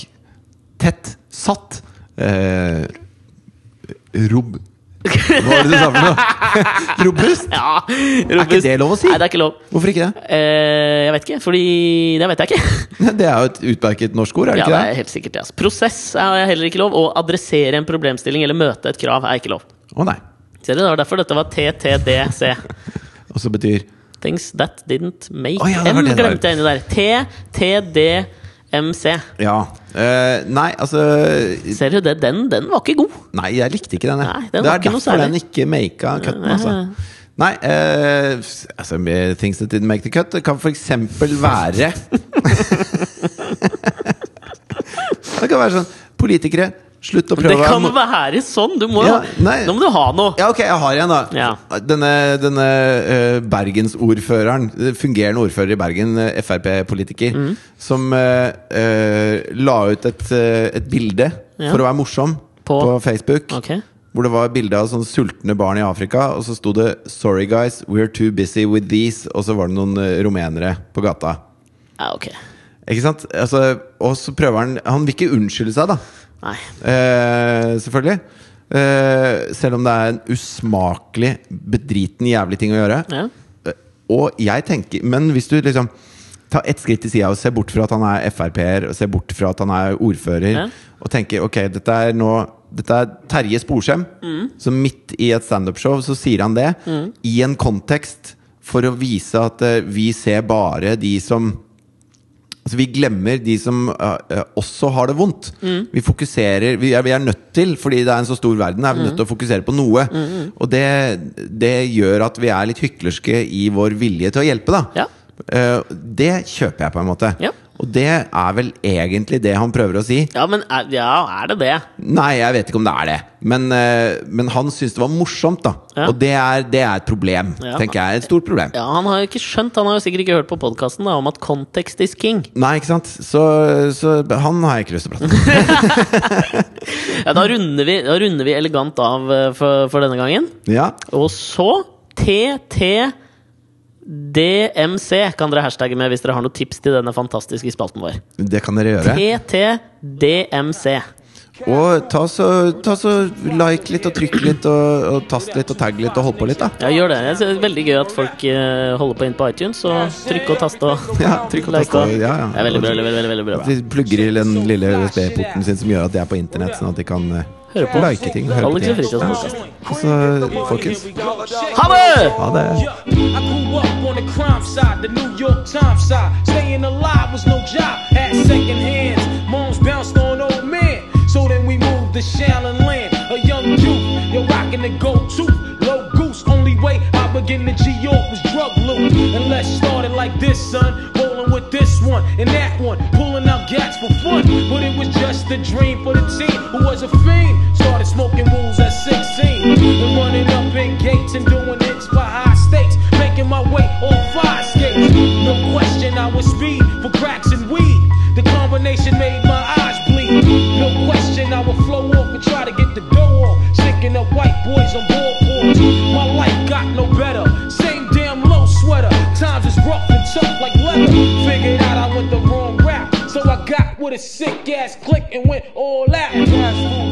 Tett. Satt. Eh, rob... Hva var det du sa for noe? *laughs* Robust?
Ja,
ikke det lov å si?
Nei, det er ikke lov.
Hvorfor ikke det?
Eh, jeg vet ikke, fordi Det vet jeg ikke.
Det er jo et utmerket norsk ord, er det
Ja, det
ikke
er
det?
helt sikkert det. Altså. Prosess er heller ikke lov. Å adressere en problemstilling eller møte et krav er ikke lov.
Å nei.
Ser du, det var derfor dette var TTDC.
Og så betyr
Things that didn't make
Å ja, det var
M
det det var.
glemte jeg inni der. T, T, D, MC.
Ja. Eh, nei, altså
Ser du det? Den, den var ikke god.
Nei, jeg likte ikke den. jeg.
Nei, den
det
var
er
ikke noe
derfor
særlig.
den ikke maka
*laughs*
cutten. Altså. Nei, eh, altså med Things that didn't make the cut det kan for eksempel være *laughs* Det kan være sånn Politikere, slutt å
Men det
prøve
kan
å-
være sånn! Du må,
Ja, nei.
nå må du ha noe!
Ja, ok, jeg har en, da.
Ja.
Denne, denne eh, bergensordføreren, eh, fungerende ordfører i Bergen, eh, Frp-politiker,
Mm.
som eh, eh, la ut et, eh, et bilde
Ja.
for å være morsom på,
På?
Facebook.
Ok.
Hvor det var bilde av sånn sultne barn i Afrika, og så sto det 'Sorry guys, we're too busy with these', og så var det noen eh, rumenere på gata.
Ja, ok.
Ikke sant? Altså, og så prøver han Han vil ikke unnskylde seg, da.
Nei.
Eh, selvfølgelig. Eh, selv om det er en usmakelig, bedriten jævlig ting å gjøre.
Ja.
Eh, og jeg tenker Men hvis du liksom Ta ett skritt til sida og ser bort fra at han er Frp-er, og ser bort fra at han er ordfører,
Ja.
og tenker ok, dette er nå Dette er Terje Sporsem, som midt i et standup-show så sier han det, i en kontekst for å vise at eh, vi ser bare de som Altså, vi glemmer de som eh, eh, også har det vondt.
Mm.
Vi fokuserer vi er, vi er nødt til, fordi det er en så stor verden, er vi
Mm.
nødt til å fokusere på noe. Og det, det gjør at vi er litt hyklerske i vår vilje til å hjelpe, da.
Ja.
Eh, det kjøper jeg, på en måte.
Ja.
Og det er vel egentlig det han prøver å si.
Ja, men er, ja, er det det?
Nei, jeg vet ikke om det er det. Men, eh, men han syns det var morsomt, da.
Ja.
Og det er, det er et problem,
Ja.
tenker jeg. Et stort problem.
Ja, Han har jo ikke skjønt, han har jo sikkert ikke hørt på podkasten om at context is king.
Nei, ikke sant? Så, så han har jeg ikke lyst til å
*laughs*
prate med.
Ja, Da runder vi, da runder vi elegant av eh, for, for denne gangen.
Ja.
Og så TTDMC kan dere hashtagge med hvis dere har noen tips til denne fantastiske spalten vår.
Det kan dere gjøre.
TTDMC.
Og ta så, ta så like litt og trykk litt og, og tast litt og tagg litt og hold på litt, da.
Ja, gjør det. Jeg synes det er veldig gøy at folk eh, holder på inn på iTunes. Og trykk og taste og
Ja, trykk og tast.
like og-
og- Ja, ja.
Det er veldig bra. veldig, veldig, veldig, veldig bra.
De plugger i den lille USB-porten sin som gjør at de er på internett, sånn at de kan eh,
Høre på.
like ting. Høre på
Alex
ting.
og Fritjofs podcast.
Og så, folkens,
Ha det!
ha det.
I grew up on the crime side, the New York Times side. Staying alive was no job. Had second hands. Moms bounced on old men. So then we moved to Shallon Land. A young youth, you're rocking the gold tooth. Low goose, only way I begin to G York was drug loot. And let's start it like this, son. Rolling with this one and that one. Pulling out gats for fun. But it was just a dream for the team who was a fiend. Started smoking rules at 16. And running up in gates and doing hits for high stakes. Making my way on five skates. No question, I was speed for cracks and weed. The combination made my eyes bleed. No question, I would flow off and try to get the dough off. Sticking up white boys on ballboards. My life got no better. Same damn low sweater. Times is rough and tough like leather. Figured out I went the wrong route. So I got with a sick ass click and went all out.